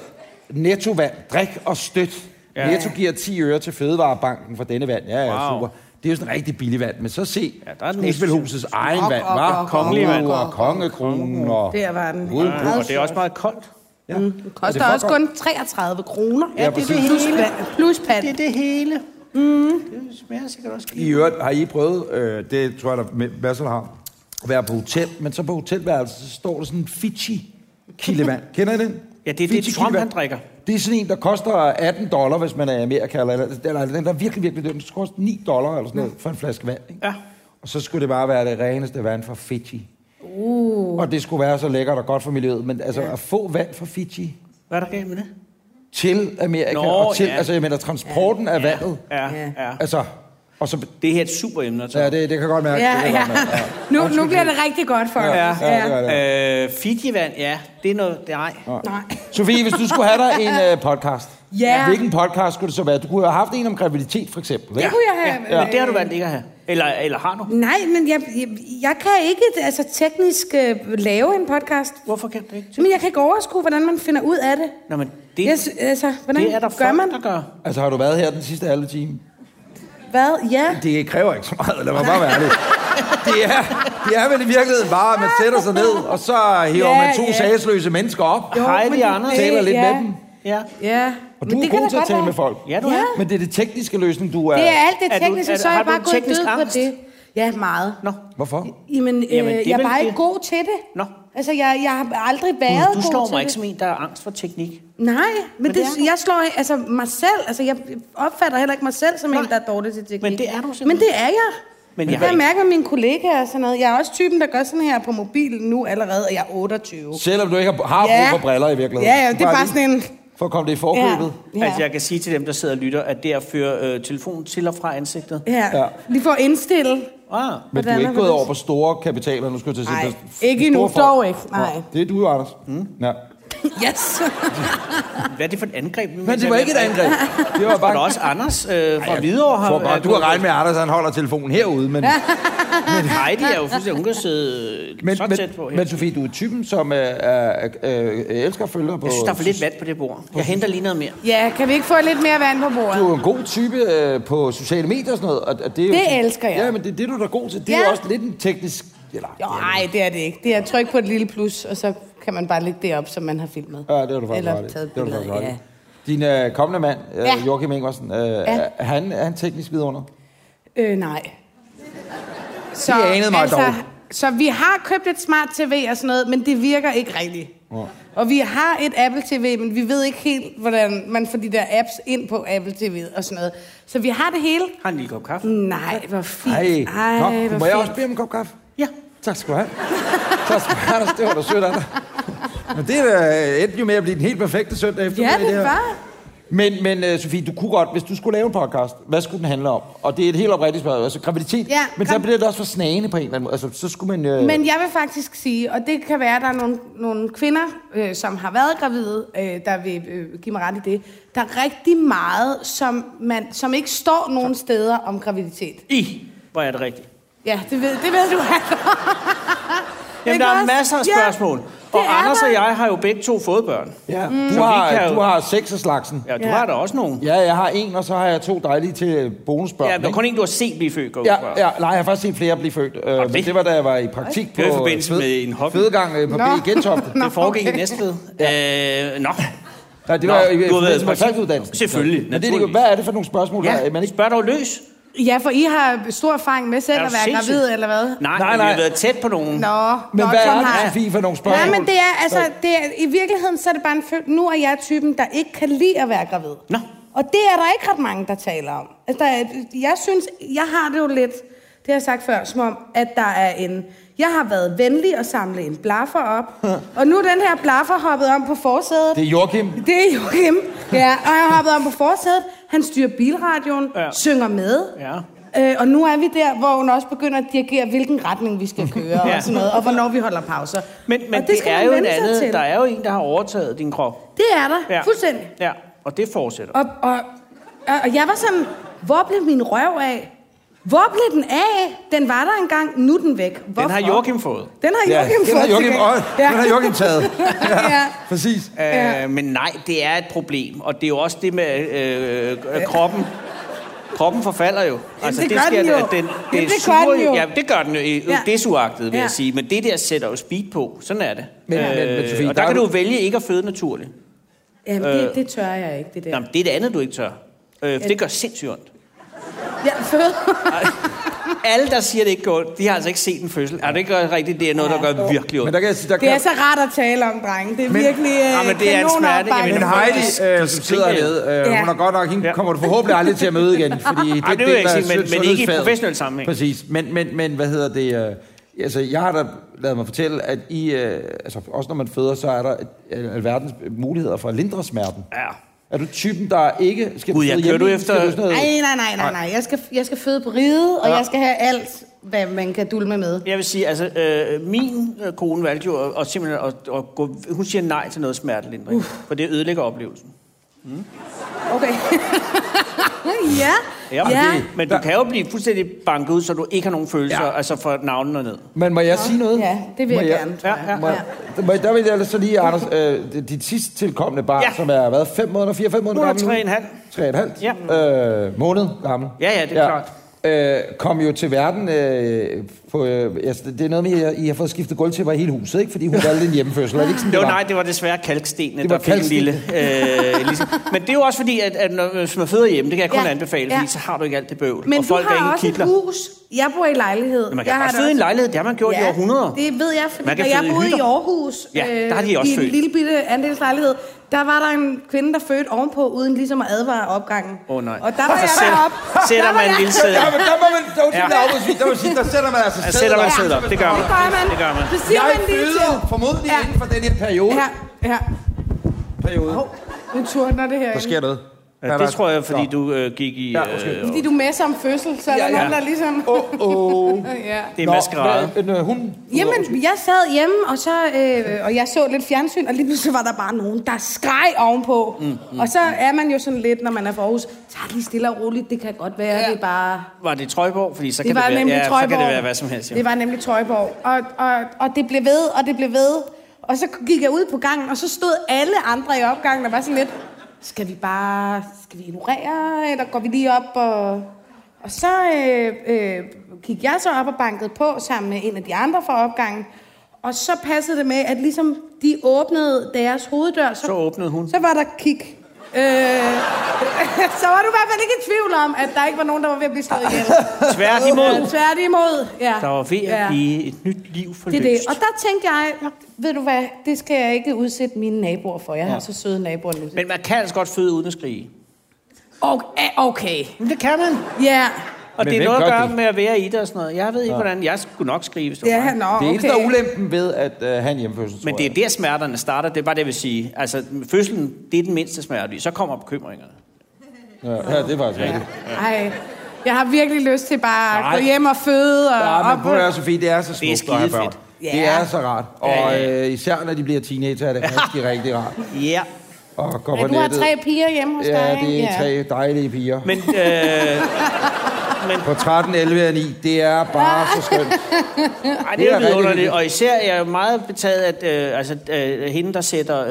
S2: nettovand. Drik og støt. Ja. Netto giver 10 øre til Fødevarebanken for denne vand. Ja, ja,
S1: Wow.
S2: super. Det er jo sådan rigtig billig vand, men så se
S1: Ja, der
S2: ja,
S1: er den
S2: Esbelhusets egen
S5: Kok,
S2: vand,
S5: kok,
S2: var
S5: kok,
S1: kongelig
S2: Kongen
S1: vand.
S2: og kongekronen og...
S5: Der var den.
S2: Uden
S1: Ja, og det er også meget koldt.
S2: Ja.
S5: Det
S2: Og det
S5: koster også
S2: foregår-
S5: kun 33 kroner.
S2: Ja, det er det
S5: Plus, pand- plus pand.
S1: Det er det hele. Mm. Det smager sikkert også
S2: I øvrigt, har I prøvet, øh, det tror jeg, der er masser, der har, at være på hotel, men så på hotelværelset, så står der sådan en Fiji
S1: (laughs)
S2: kildevand. Kender I den?
S1: Ja, det er det, Trump,
S2: kildevand.
S1: han drikker.
S2: Det er sådan en, der koster 18 dollar, hvis man er i Amerika, eller, eller, eller den der er virkelig, virkelig dyr. Den skal koste 9 dollar eller sådan noget for en flaske vand. Ikke?
S1: Ja.
S2: Og så skulle det bare være det reneste vand fra Fiji. Uh. Og det skulle være så lækkert og godt for miljøet, men altså at få vand fra Fiji
S1: Hvad er der galt med det?
S2: til Amerika,
S1: Nå,
S2: og til,
S1: ja.
S2: altså jeg mener transporten af vandet,
S1: Ja,
S5: Ja.
S1: ja.
S2: altså, og så,
S1: Det er her et super emne at tage.
S2: ja, det, det kan jeg godt mærke.
S5: Ja,
S2: det kan
S5: ja.
S2: jeg godt mærke.
S5: Nu, nu bliver det rigtig godt for os.
S1: Ja.
S2: Ja, det gør det.
S1: Øh, Fidjevand, ja. Det er noget... Det er ej.
S5: Nej.
S2: Sofie, hvis du skulle have dig en øh, podcast,
S5: Ja.
S2: hvilken podcast skulle det så være? Du kunne have haft en om graviditet, for eksempel.
S5: Det
S2: Ikke?
S5: kunne jeg have.
S1: Ja. Men det har du valgt ikke at have. Eller, eller har du?
S5: Nej, men jeg, jeg, jeg kan ikke altså, teknisk øh, lave en podcast.
S1: Hvorfor kan du ikke?
S5: Men jeg kan ikke overskue, hvordan man finder ud af det.
S1: Nå, men det,
S5: Jeg, sy- altså, hvordan
S1: det er der
S5: gør
S1: folk,
S5: man?
S1: der gør.
S2: Altså, har du været her den sidste halve time?
S5: Hvad? Ja.
S2: Det kræver ikke så meget, lad mig bare være ærlig. Det er, det er vel i virkeligheden bare, at man sætter sig ned, og så hiver
S5: Ja,
S2: man to
S5: ja.
S2: sagsløse mennesker op,
S1: Jo, Hej, de andre.
S5: det-
S2: taler lidt
S5: ja.
S2: med dem.
S1: Ja.
S5: Ja.
S2: Og
S5: Men
S2: du
S5: det
S2: er
S5: kan
S2: god
S5: da
S2: til at
S5: godt
S2: tale
S5: være.
S2: med folk.
S1: Ja, du
S5: Ja.
S1: er.
S2: Men det er det tekniske løsning, du er...
S5: Det er alt det
S1: Er du-
S5: tekniske,
S1: er-
S5: så er
S1: har
S5: jeg
S1: du
S5: bare
S1: en
S5: gået
S1: teknisk
S5: død
S1: angst?
S5: på det. Ja, meget.
S1: Nå.
S2: Hvorfor?
S5: Jamen, øh,
S1: Jamen, det er
S5: jeg er
S1: vel
S5: bare
S1: det.
S5: ikke god til det.
S1: Nå.
S5: Altså, jeg, jeg har aldrig været
S1: Gud, du
S5: god
S1: slår
S5: til
S1: mig
S5: det.
S1: ikke som en, der er angst for teknik.
S5: Nej, men det,
S1: det er du.
S5: jeg slår altså mig selv. Altså, jeg opfatter heller ikke mig selv som en,
S1: Nej.
S5: der er dårlig til teknik.
S1: Men det er du simpelthen.
S5: Men det er jeg.
S1: Men jeg
S5: Men jeg,
S1: har
S5: jeg
S1: ikke-
S5: mærker mine kollegaer og sådan noget. Jeg er også typen, der gør sådan her på mobilen nu allerede, og jeg er 28.
S2: Selvom du ikke har har brug
S5: Ja.
S2: for briller i virkeligheden.
S5: Ja, ja, det er bare sådan en...
S2: For at komme det i forkøbet.
S1: Ja. Altså, jeg kan sige til dem, der sidder og lytter, at det er at føre øh, telefonen til og fra ansigtet.
S5: Ja.
S2: Ja.
S5: ja. Lige for at indstille.
S1: Ah.
S2: Men du
S5: Hvordan
S2: er
S5: er
S2: ikke
S5: det
S2: gået
S5: det?
S2: over på store kapitaler, nu skulle jeg til at sige.
S5: Nej,
S2: på s-
S5: ikke
S2: store
S5: endnu,
S2: folk.
S5: dog ikke, nej.
S2: Det er du, Anders. Mm. Ja.
S5: Yes.
S1: Hvad er det for et angreb?
S2: Men det var ikke et angreb. (laughs) Det var
S1: Og
S2: bare...
S1: der er også Anders øh, fra Hvidovre.
S2: Jeg tror godt, du har regnet med, at Anders han holder telefonen herude, men,
S1: Nej, de er jo fuldstændig hun kan sidde øh,
S2: men,
S1: så
S2: men,
S1: tæt på her.
S2: men Sofie, du er typen, som øh, øh, øh, elsker at følge dig på...
S1: jeg synes, der er for lidt vand på det bord. Jeg henter lige noget mere.
S5: ja, kan vi ikke få lidt mere vand på bordet?
S2: Du er jo en god type øh, på sociale medier og sådan noget. Og, og det, er jo
S5: Det
S2: sådan-
S5: elsker jeg.
S2: Ja, men det er det, du er da god til. Det er
S5: Ja.
S2: jo også lidt en teknisk... Eller,
S5: Jo, nej, det er det ikke. Det er tryk på et lille plus, og så kan man bare lægge det op, som man har filmet.
S2: Ja, det var du faktisk
S5: Eller
S2: ret i.
S5: taget
S2: Det var du
S5: billeder,
S2: faktisk ret i.
S5: ja.
S2: Din øh, kommende mand, øh,
S5: Ja.
S2: Joachim Ingersen, øh, ja. er, han, er han teknisk vidunder?
S5: Øh, nej. Så, altså,
S2: Det anede mig dog.
S5: Så vi har købt et smart tv og sådan noget, men det virker ikke rigtigt. Og vi har et Apple TV, men vi ved ikke helt, hvordan man får de der apps ind på Apple TV og sådan noget. Så vi har det hele.
S1: Har en lille kop kaffe?
S5: Nej, hvor fint.
S2: Ej,
S5: Ej
S2: Nå,
S5: hvor
S2: må jeg
S5: fint.
S2: også bede om en kop kaffe?
S1: Ja.
S2: Tak skal du have. tak skal du have, Anders. Det var da sødt af dig. Men det er da endte jo med at blive den helt perfekte søndag
S5: Ja,
S2: eftermiddag.
S5: det
S2: her.
S5: var.
S2: Men, men uh, Sofie, du kunne godt, hvis du skulle lave en podcast, hvad skulle den handle om? Og det er et helt oprigtigt spørgsmål. Altså graviditet,
S5: Ja,
S2: men så
S5: kom.
S2: bliver det også for snagende på en eller anden måde. Altså, så skulle man... Uh,
S5: Men jeg vil faktisk sige, og det kan være, at der er nogle, nogle kvinder, øh, som har været gravide, øh, der vil øh, give mig ret i det. Der er rigtig meget, som, man, som ikke står nogen steder om graviditet.
S1: I, hvor er det rigtigt.
S5: Ja, det ved, det ved du (laughs) altså.
S1: Jamen,
S5: Ikke
S1: der er
S5: også?
S1: masser af
S5: Ja,
S1: spørgsmål.
S5: det
S1: og
S5: er
S1: Anders
S5: der.
S1: og jeg har jo begge to fået børn.
S2: ja.
S5: Mm.
S2: du,
S1: Så vi kan
S2: har,
S1: jo-
S2: du har seks af slagsen.
S1: Ja, du
S5: Ja.
S1: har da også nogen.
S2: Ja, jeg har en, og så har jeg to dejlige til bonusbørn.
S1: Ja, der er
S2: ikke?
S1: kun en, du har set blive født, går jeg ud fra.
S2: Ja, ja, nej, jeg har faktisk set flere blive født. Øh, men
S1: det-
S2: det var, da jeg var i praktik på
S1: Det var i forbindelse
S2: øh,
S1: med en hobby.
S2: fødegang øh, på
S5: (laughs) Nå.
S2: B i Gentofte.
S1: Det foregik okay. i Næstved. Ja. Øh, nå.
S2: Nej, det var
S1: Nå,
S2: jo i
S1: du har været i
S2: forbindelse med
S1: praktik.
S2: praktikuddanelsen.
S1: Selvfølgelig,
S2: Men det, er jo-
S1: naturligvis.
S2: hvad er det for nogle spørgsmål, der
S1: Ja,
S2: er, man
S1: men
S2: ikke...
S1: spørg dog løs.
S5: Ja, for I har stor erfaring med selv
S1: Er
S5: at
S1: du
S5: være
S1: sindssyg?
S5: gravid, eller hvad?
S1: Nej,
S2: Nej,
S1: nej, nej.
S2: nej.
S1: vi har været tæt på nogen.
S5: Nå,
S2: Men
S5: nå,
S2: hvad
S5: sådan
S2: er
S5: har
S2: det,
S5: jeg.
S2: Sofie, for nogle spørgsmål?
S5: Nej, men det er, altså, det er, i virkeligheden, så er det bare en følelse. Nu er jeg typen, der ikke kan lide at være gravid.
S1: Nå.
S5: Og det er der ikke ret mange, der taler om. Altså, der er, jeg synes, jeg har det jo lidt, det har jeg sagt før, som om, at der er en... Jeg har været venlig at samle en blaffer op, og nu er den her blaffer hoppet om på forsædet.
S2: Det er Joachim.
S5: Det er Joachim. Ja, og han har hoppet om på forsædet. Han styrer bilradioen,
S1: Ja.
S5: ja. synger med.
S1: Ja.
S5: Øh, og nu er vi der, hvor hun også begynder at dirigere, hvilken retning vi skal
S1: (laughs)
S5: køre
S1: Ja.
S5: ja. og sådan noget, og hvornår vi holder pauser.
S1: Men, men
S5: og
S1: det, det
S5: skal
S1: er
S5: man
S1: jo en
S5: vænne sig
S1: anden.
S5: til.
S1: Der er jo en, der har overtaget din krop.
S5: Det er der, ja. fuldstændig.
S1: Ja, og det fortsætter.
S5: Og, og, og, og jeg var sådan, hvor blev min røv af? Hvor blev den af? Den var der engang, nu er den væk. Hvorfor?
S1: Den har Joachim fået.
S5: Den har
S2: Ja,
S5: Joachim
S2: den
S5: fået.
S2: har Joachim,
S5: til
S2: og,
S5: gengæld.
S2: den har Joachim taget.
S5: ja.
S2: Præcis.
S1: Øh, men nej, det er et problem. Og det er jo også det med øh, øh, kroppen. Kroppen forfalder jo. Altså,
S5: det gør den jo.
S1: at Den,
S5: Jamen,
S1: det,
S5: det
S1: det
S5: gør
S1: suger
S5: den
S1: jo.
S5: jo.
S1: Ja, det gør den jo. Ja.
S5: Ja.
S1: Desuagtet, vil ja.
S5: Ja.
S1: jeg sige. Men det der sætter jo speed på. Sådan er det. Øh,
S2: Men- men- men, Sofie,
S1: og der,
S2: der er
S1: kan
S2: du-
S1: du jo vælge ikke at føde naturligt.
S5: (laughs) Jamen, det, det tør jeg ikke, det der.
S1: Ja. Jamen, det er det andet, du ikke tør. Øh, for det gør sindssygt ondt.
S5: Jeg føder.
S1: Alle, der siger, det ikke går ondt, de har altså ikke set en fødsel. Er det ikke rigtigt? Det er noget, der gør virkelig ondt.
S2: Men der kan jeg sige, der
S5: Det
S2: kan...
S5: er så rart at tale om, drenge. Det er
S2: Men-
S5: virkelig øh,
S1: Ja, men det er en smerte.
S5: kanonopbakning.
S1: Jamen,
S2: Men Heidi, øh, som sidder
S1: skriger jo.
S2: hernede, øh,
S5: Ja.
S2: hun er godt nok, hende
S1: Ja.
S2: kommer du forhåbentlig aldrig til at møde igen,
S1: (laughs)
S2: fordi det,
S1: det vil jeg ikke
S2: der er
S1: sige, men-
S2: sund-
S1: men ikke i
S2: sundhedsfaget.
S1: professionel sammenhæng.
S2: Præcis, men, men, men hvad hedder det... Øh, altså, jeg har da lavet mig fortælle, at I, øh, altså, også når man føder, så er der øh, alverdens muligheder for at lindre smerten.
S1: Ja.
S2: Er du typen, der ikke skal
S1: Gud, ja,
S2: føde
S1: kører du
S2: hjemme?
S1: efter-
S2: Skal du sådan noget-
S5: Nej, nej, nej, nej, nej. Jeg skal, jeg skal føde på riget, og jeg skal have alt, hvad man kan dulme med.
S1: Jeg vil sige, altså, øh, min øh, kone valgte jo at, at simpelthen at, at gå, hun siger nej til noget smertelindring, uh. for det ødelægger oplevelsen.
S5: Okay. ja.
S1: Ja,
S5: Ja.
S1: ja. Men du kan jo blive fuldstændig banket ud, så du ikke har nogen følelser, ja. altså fra navnen og ned.
S2: Men må jeg sige noget?
S5: Ja, det vil
S2: Må
S5: jeg gerne, tror
S1: Ja,
S5: jeg.
S1: ja.
S2: Må, må, jeg- der vil jeg ellers så lige, Anders, øh, dit sidst tilkommende barn,
S1: Ja.
S2: ja. som er været 5 måneder, 4-5 måneder
S1: Hun er
S2: gammel?
S1: tre og en halv.
S2: 3,5 ja. øh, måned gammel.
S1: Ja, ja, det er klart.
S2: Øh, kom jo til verden øh, på... Øh, altså, det er noget med, at I har fået skiftet gulvtæpper i hele huset, ikke?
S1: (laughs)
S2: Fordi hun valgte en hjemmefødsel. Er det ikke sådan,
S1: Det var,
S2: det
S1: nej, det var desværre kalkstenene,
S2: Det
S1: der
S2: var
S1: fik en lille...
S2: (laughs)
S1: Øh, ligesom. Men det er jo også fordi, at, at når, hvis man føder hjemme, det kan jeg kun ja.
S5: Ja,
S1: anbefale,
S5: ja.
S1: fordi så har du ikke alt det bøvl.
S5: Men
S1: og folk
S5: du
S1: er
S5: har
S1: ingen
S5: også
S1: kitler.
S5: et hus. Jeg bor i lejlighed.
S1: Men man
S5: jeg
S1: kan
S5: har
S1: også
S5: da
S1: føde i en lejlighed, det har man gjort ja, i århundreder.
S5: det ved jeg, fordi
S1: Man kan
S5: da jeg
S1: føde i
S5: boede i
S1: hytter.
S5: Aarhus, øh,
S1: Ja, der har de også
S5: i
S1: født.
S5: en lille bitte andelslejlighed, der var der en kvinde, der fødte ovenpå, uden ligesom at advare opgangen.
S1: Åh, nej.
S5: Og der var
S1: Så
S5: jeg
S1: sætter-
S5: deroppe.
S1: sætter
S5: Der var
S1: man en
S5: jeg-
S1: lille sæde.
S2: Ja, men der må man... Der, var
S1: Ja.
S2: ja. der, der, var sidst, der sætter man altså
S1: Ja, sætter man
S2: op.
S1: sædler op, det gør man.
S5: Det gør man.
S1: Det gør man.
S5: Det siger
S2: Jeg
S5: man lige til.
S2: føder formodentlig ja.
S5: Ja.
S2: inden for den her periode.
S5: Ja,
S2: Ja.
S5: ja.
S2: periode.
S5: Nu turner det her.
S2: Der sker noget.
S1: Ja, det tror jeg, fordi du øh, gik i...
S2: Ja, undskyld.
S1: Øh,
S5: Fordi du er med som fødsel, så er
S2: Ja,
S5: der
S2: ja.
S5: nogen, der ligesom...
S2: Åh, åh.
S5: ja.
S1: det er maskerade.
S2: Nå, hvad- øh, hun...
S5: Jamen, jeg sad hjemme, og, så, øh, og jeg så lidt fjernsyn, og lige pludselig var der bare nogen, der skreg ovenpå. Mm, mm, og så er man jo sådan lidt, når man er for Aarhus, tag lige stille og roligt, det kan godt være, ja. det er bare...
S1: Var det Trøjborg? Fordi så,
S5: Det
S1: kan
S5: var
S1: det, være,
S5: nemlig
S1: ja,
S5: Trøjborg.
S1: så kan det være hvad som helst. Jo.
S5: Det var nemlig Trøjborg. Og, og, og det blev ved, og det blev ved. Og så gik jeg ud på gangen, og så stod alle andre i opgangen, der var sådan lidt, skal vi bare, skal vi ignorere, eller går vi lige op og... Og så øh, øh, gik jeg så op og bankede på sammen med en af de andre fra opgangen. Og så passede det med, at ligesom de åbnede deres hoveddør, så,
S1: Så åbnede hun.
S5: så var der kig. Øh, (laughs) så var du i hvert fald ikke i tvivl om, at der ikke var nogen, der var ved at blive slået ihjel. Ja,
S1: Tværtimod.
S5: tværtimod, ja.
S1: Der var ved at
S5: ja.
S1: blive et nyt liv for
S5: Det er det. Og der tænkte jeg, ved du hvad, det skal jeg ikke udsætte mine naboer for. Jeg har så søde naboer nu.
S1: Men man kan altså godt føde uden at skrige.
S5: Okay. okay.
S1: Men det kan man.
S5: Ja.
S1: Og det
S2: Men
S1: er
S2: hvem
S1: noget at
S2: gør
S1: gøre
S2: det?
S1: med at være i det og sådan noget. Jeg ved ikke, hvordan jeg skulle nok skrive, hvis det var
S5: Ja,
S1: mig.
S5: nå,
S2: Det
S5: okay.
S2: eneste, der er ulempen ved at øh, have en hjemmefødsel, tror
S1: Men det er
S2: jeg.
S1: der, smerterne starter. Det er bare det, jeg vil sige. Altså, fødslen, det er den mindste smerte. Så kommer bekymringerne.
S2: Ja, ja, det er faktisk rigtigt.
S5: Ej. Jeg har virkelig lyst til bare at
S2: Nej.
S5: gå hjem og føde. Og
S2: Ja,
S5: op.
S2: men prøv at høre, Sofie, det er så
S1: Det er
S2: smukt at have børn.
S1: skidefedt.
S2: Ja.
S5: Ja.
S2: Det er så rart. Og
S1: Ja, ja.
S2: øh, især når de bliver teenager, er det
S1: (laughs)
S2: rigtig, rigtig rart.
S1: Ja.
S2: Og går
S5: Ja,
S2: på
S5: du har
S2: nettet.
S5: tre piger hjemme hos dig,
S2: Ja,
S5: ikke?
S2: det er tre dejlige piger.
S1: Men, (laughs) øh,
S2: På 13, 11 og 9, det er bare så skønt.
S1: (laughs) ej,
S2: Det
S1: det
S2: er
S1: er jo
S2: rigtig
S1: underligt.
S2: hyggeligt.
S1: Og især jeg er jo meget betaget af øh, altså, øh, hende, der sætter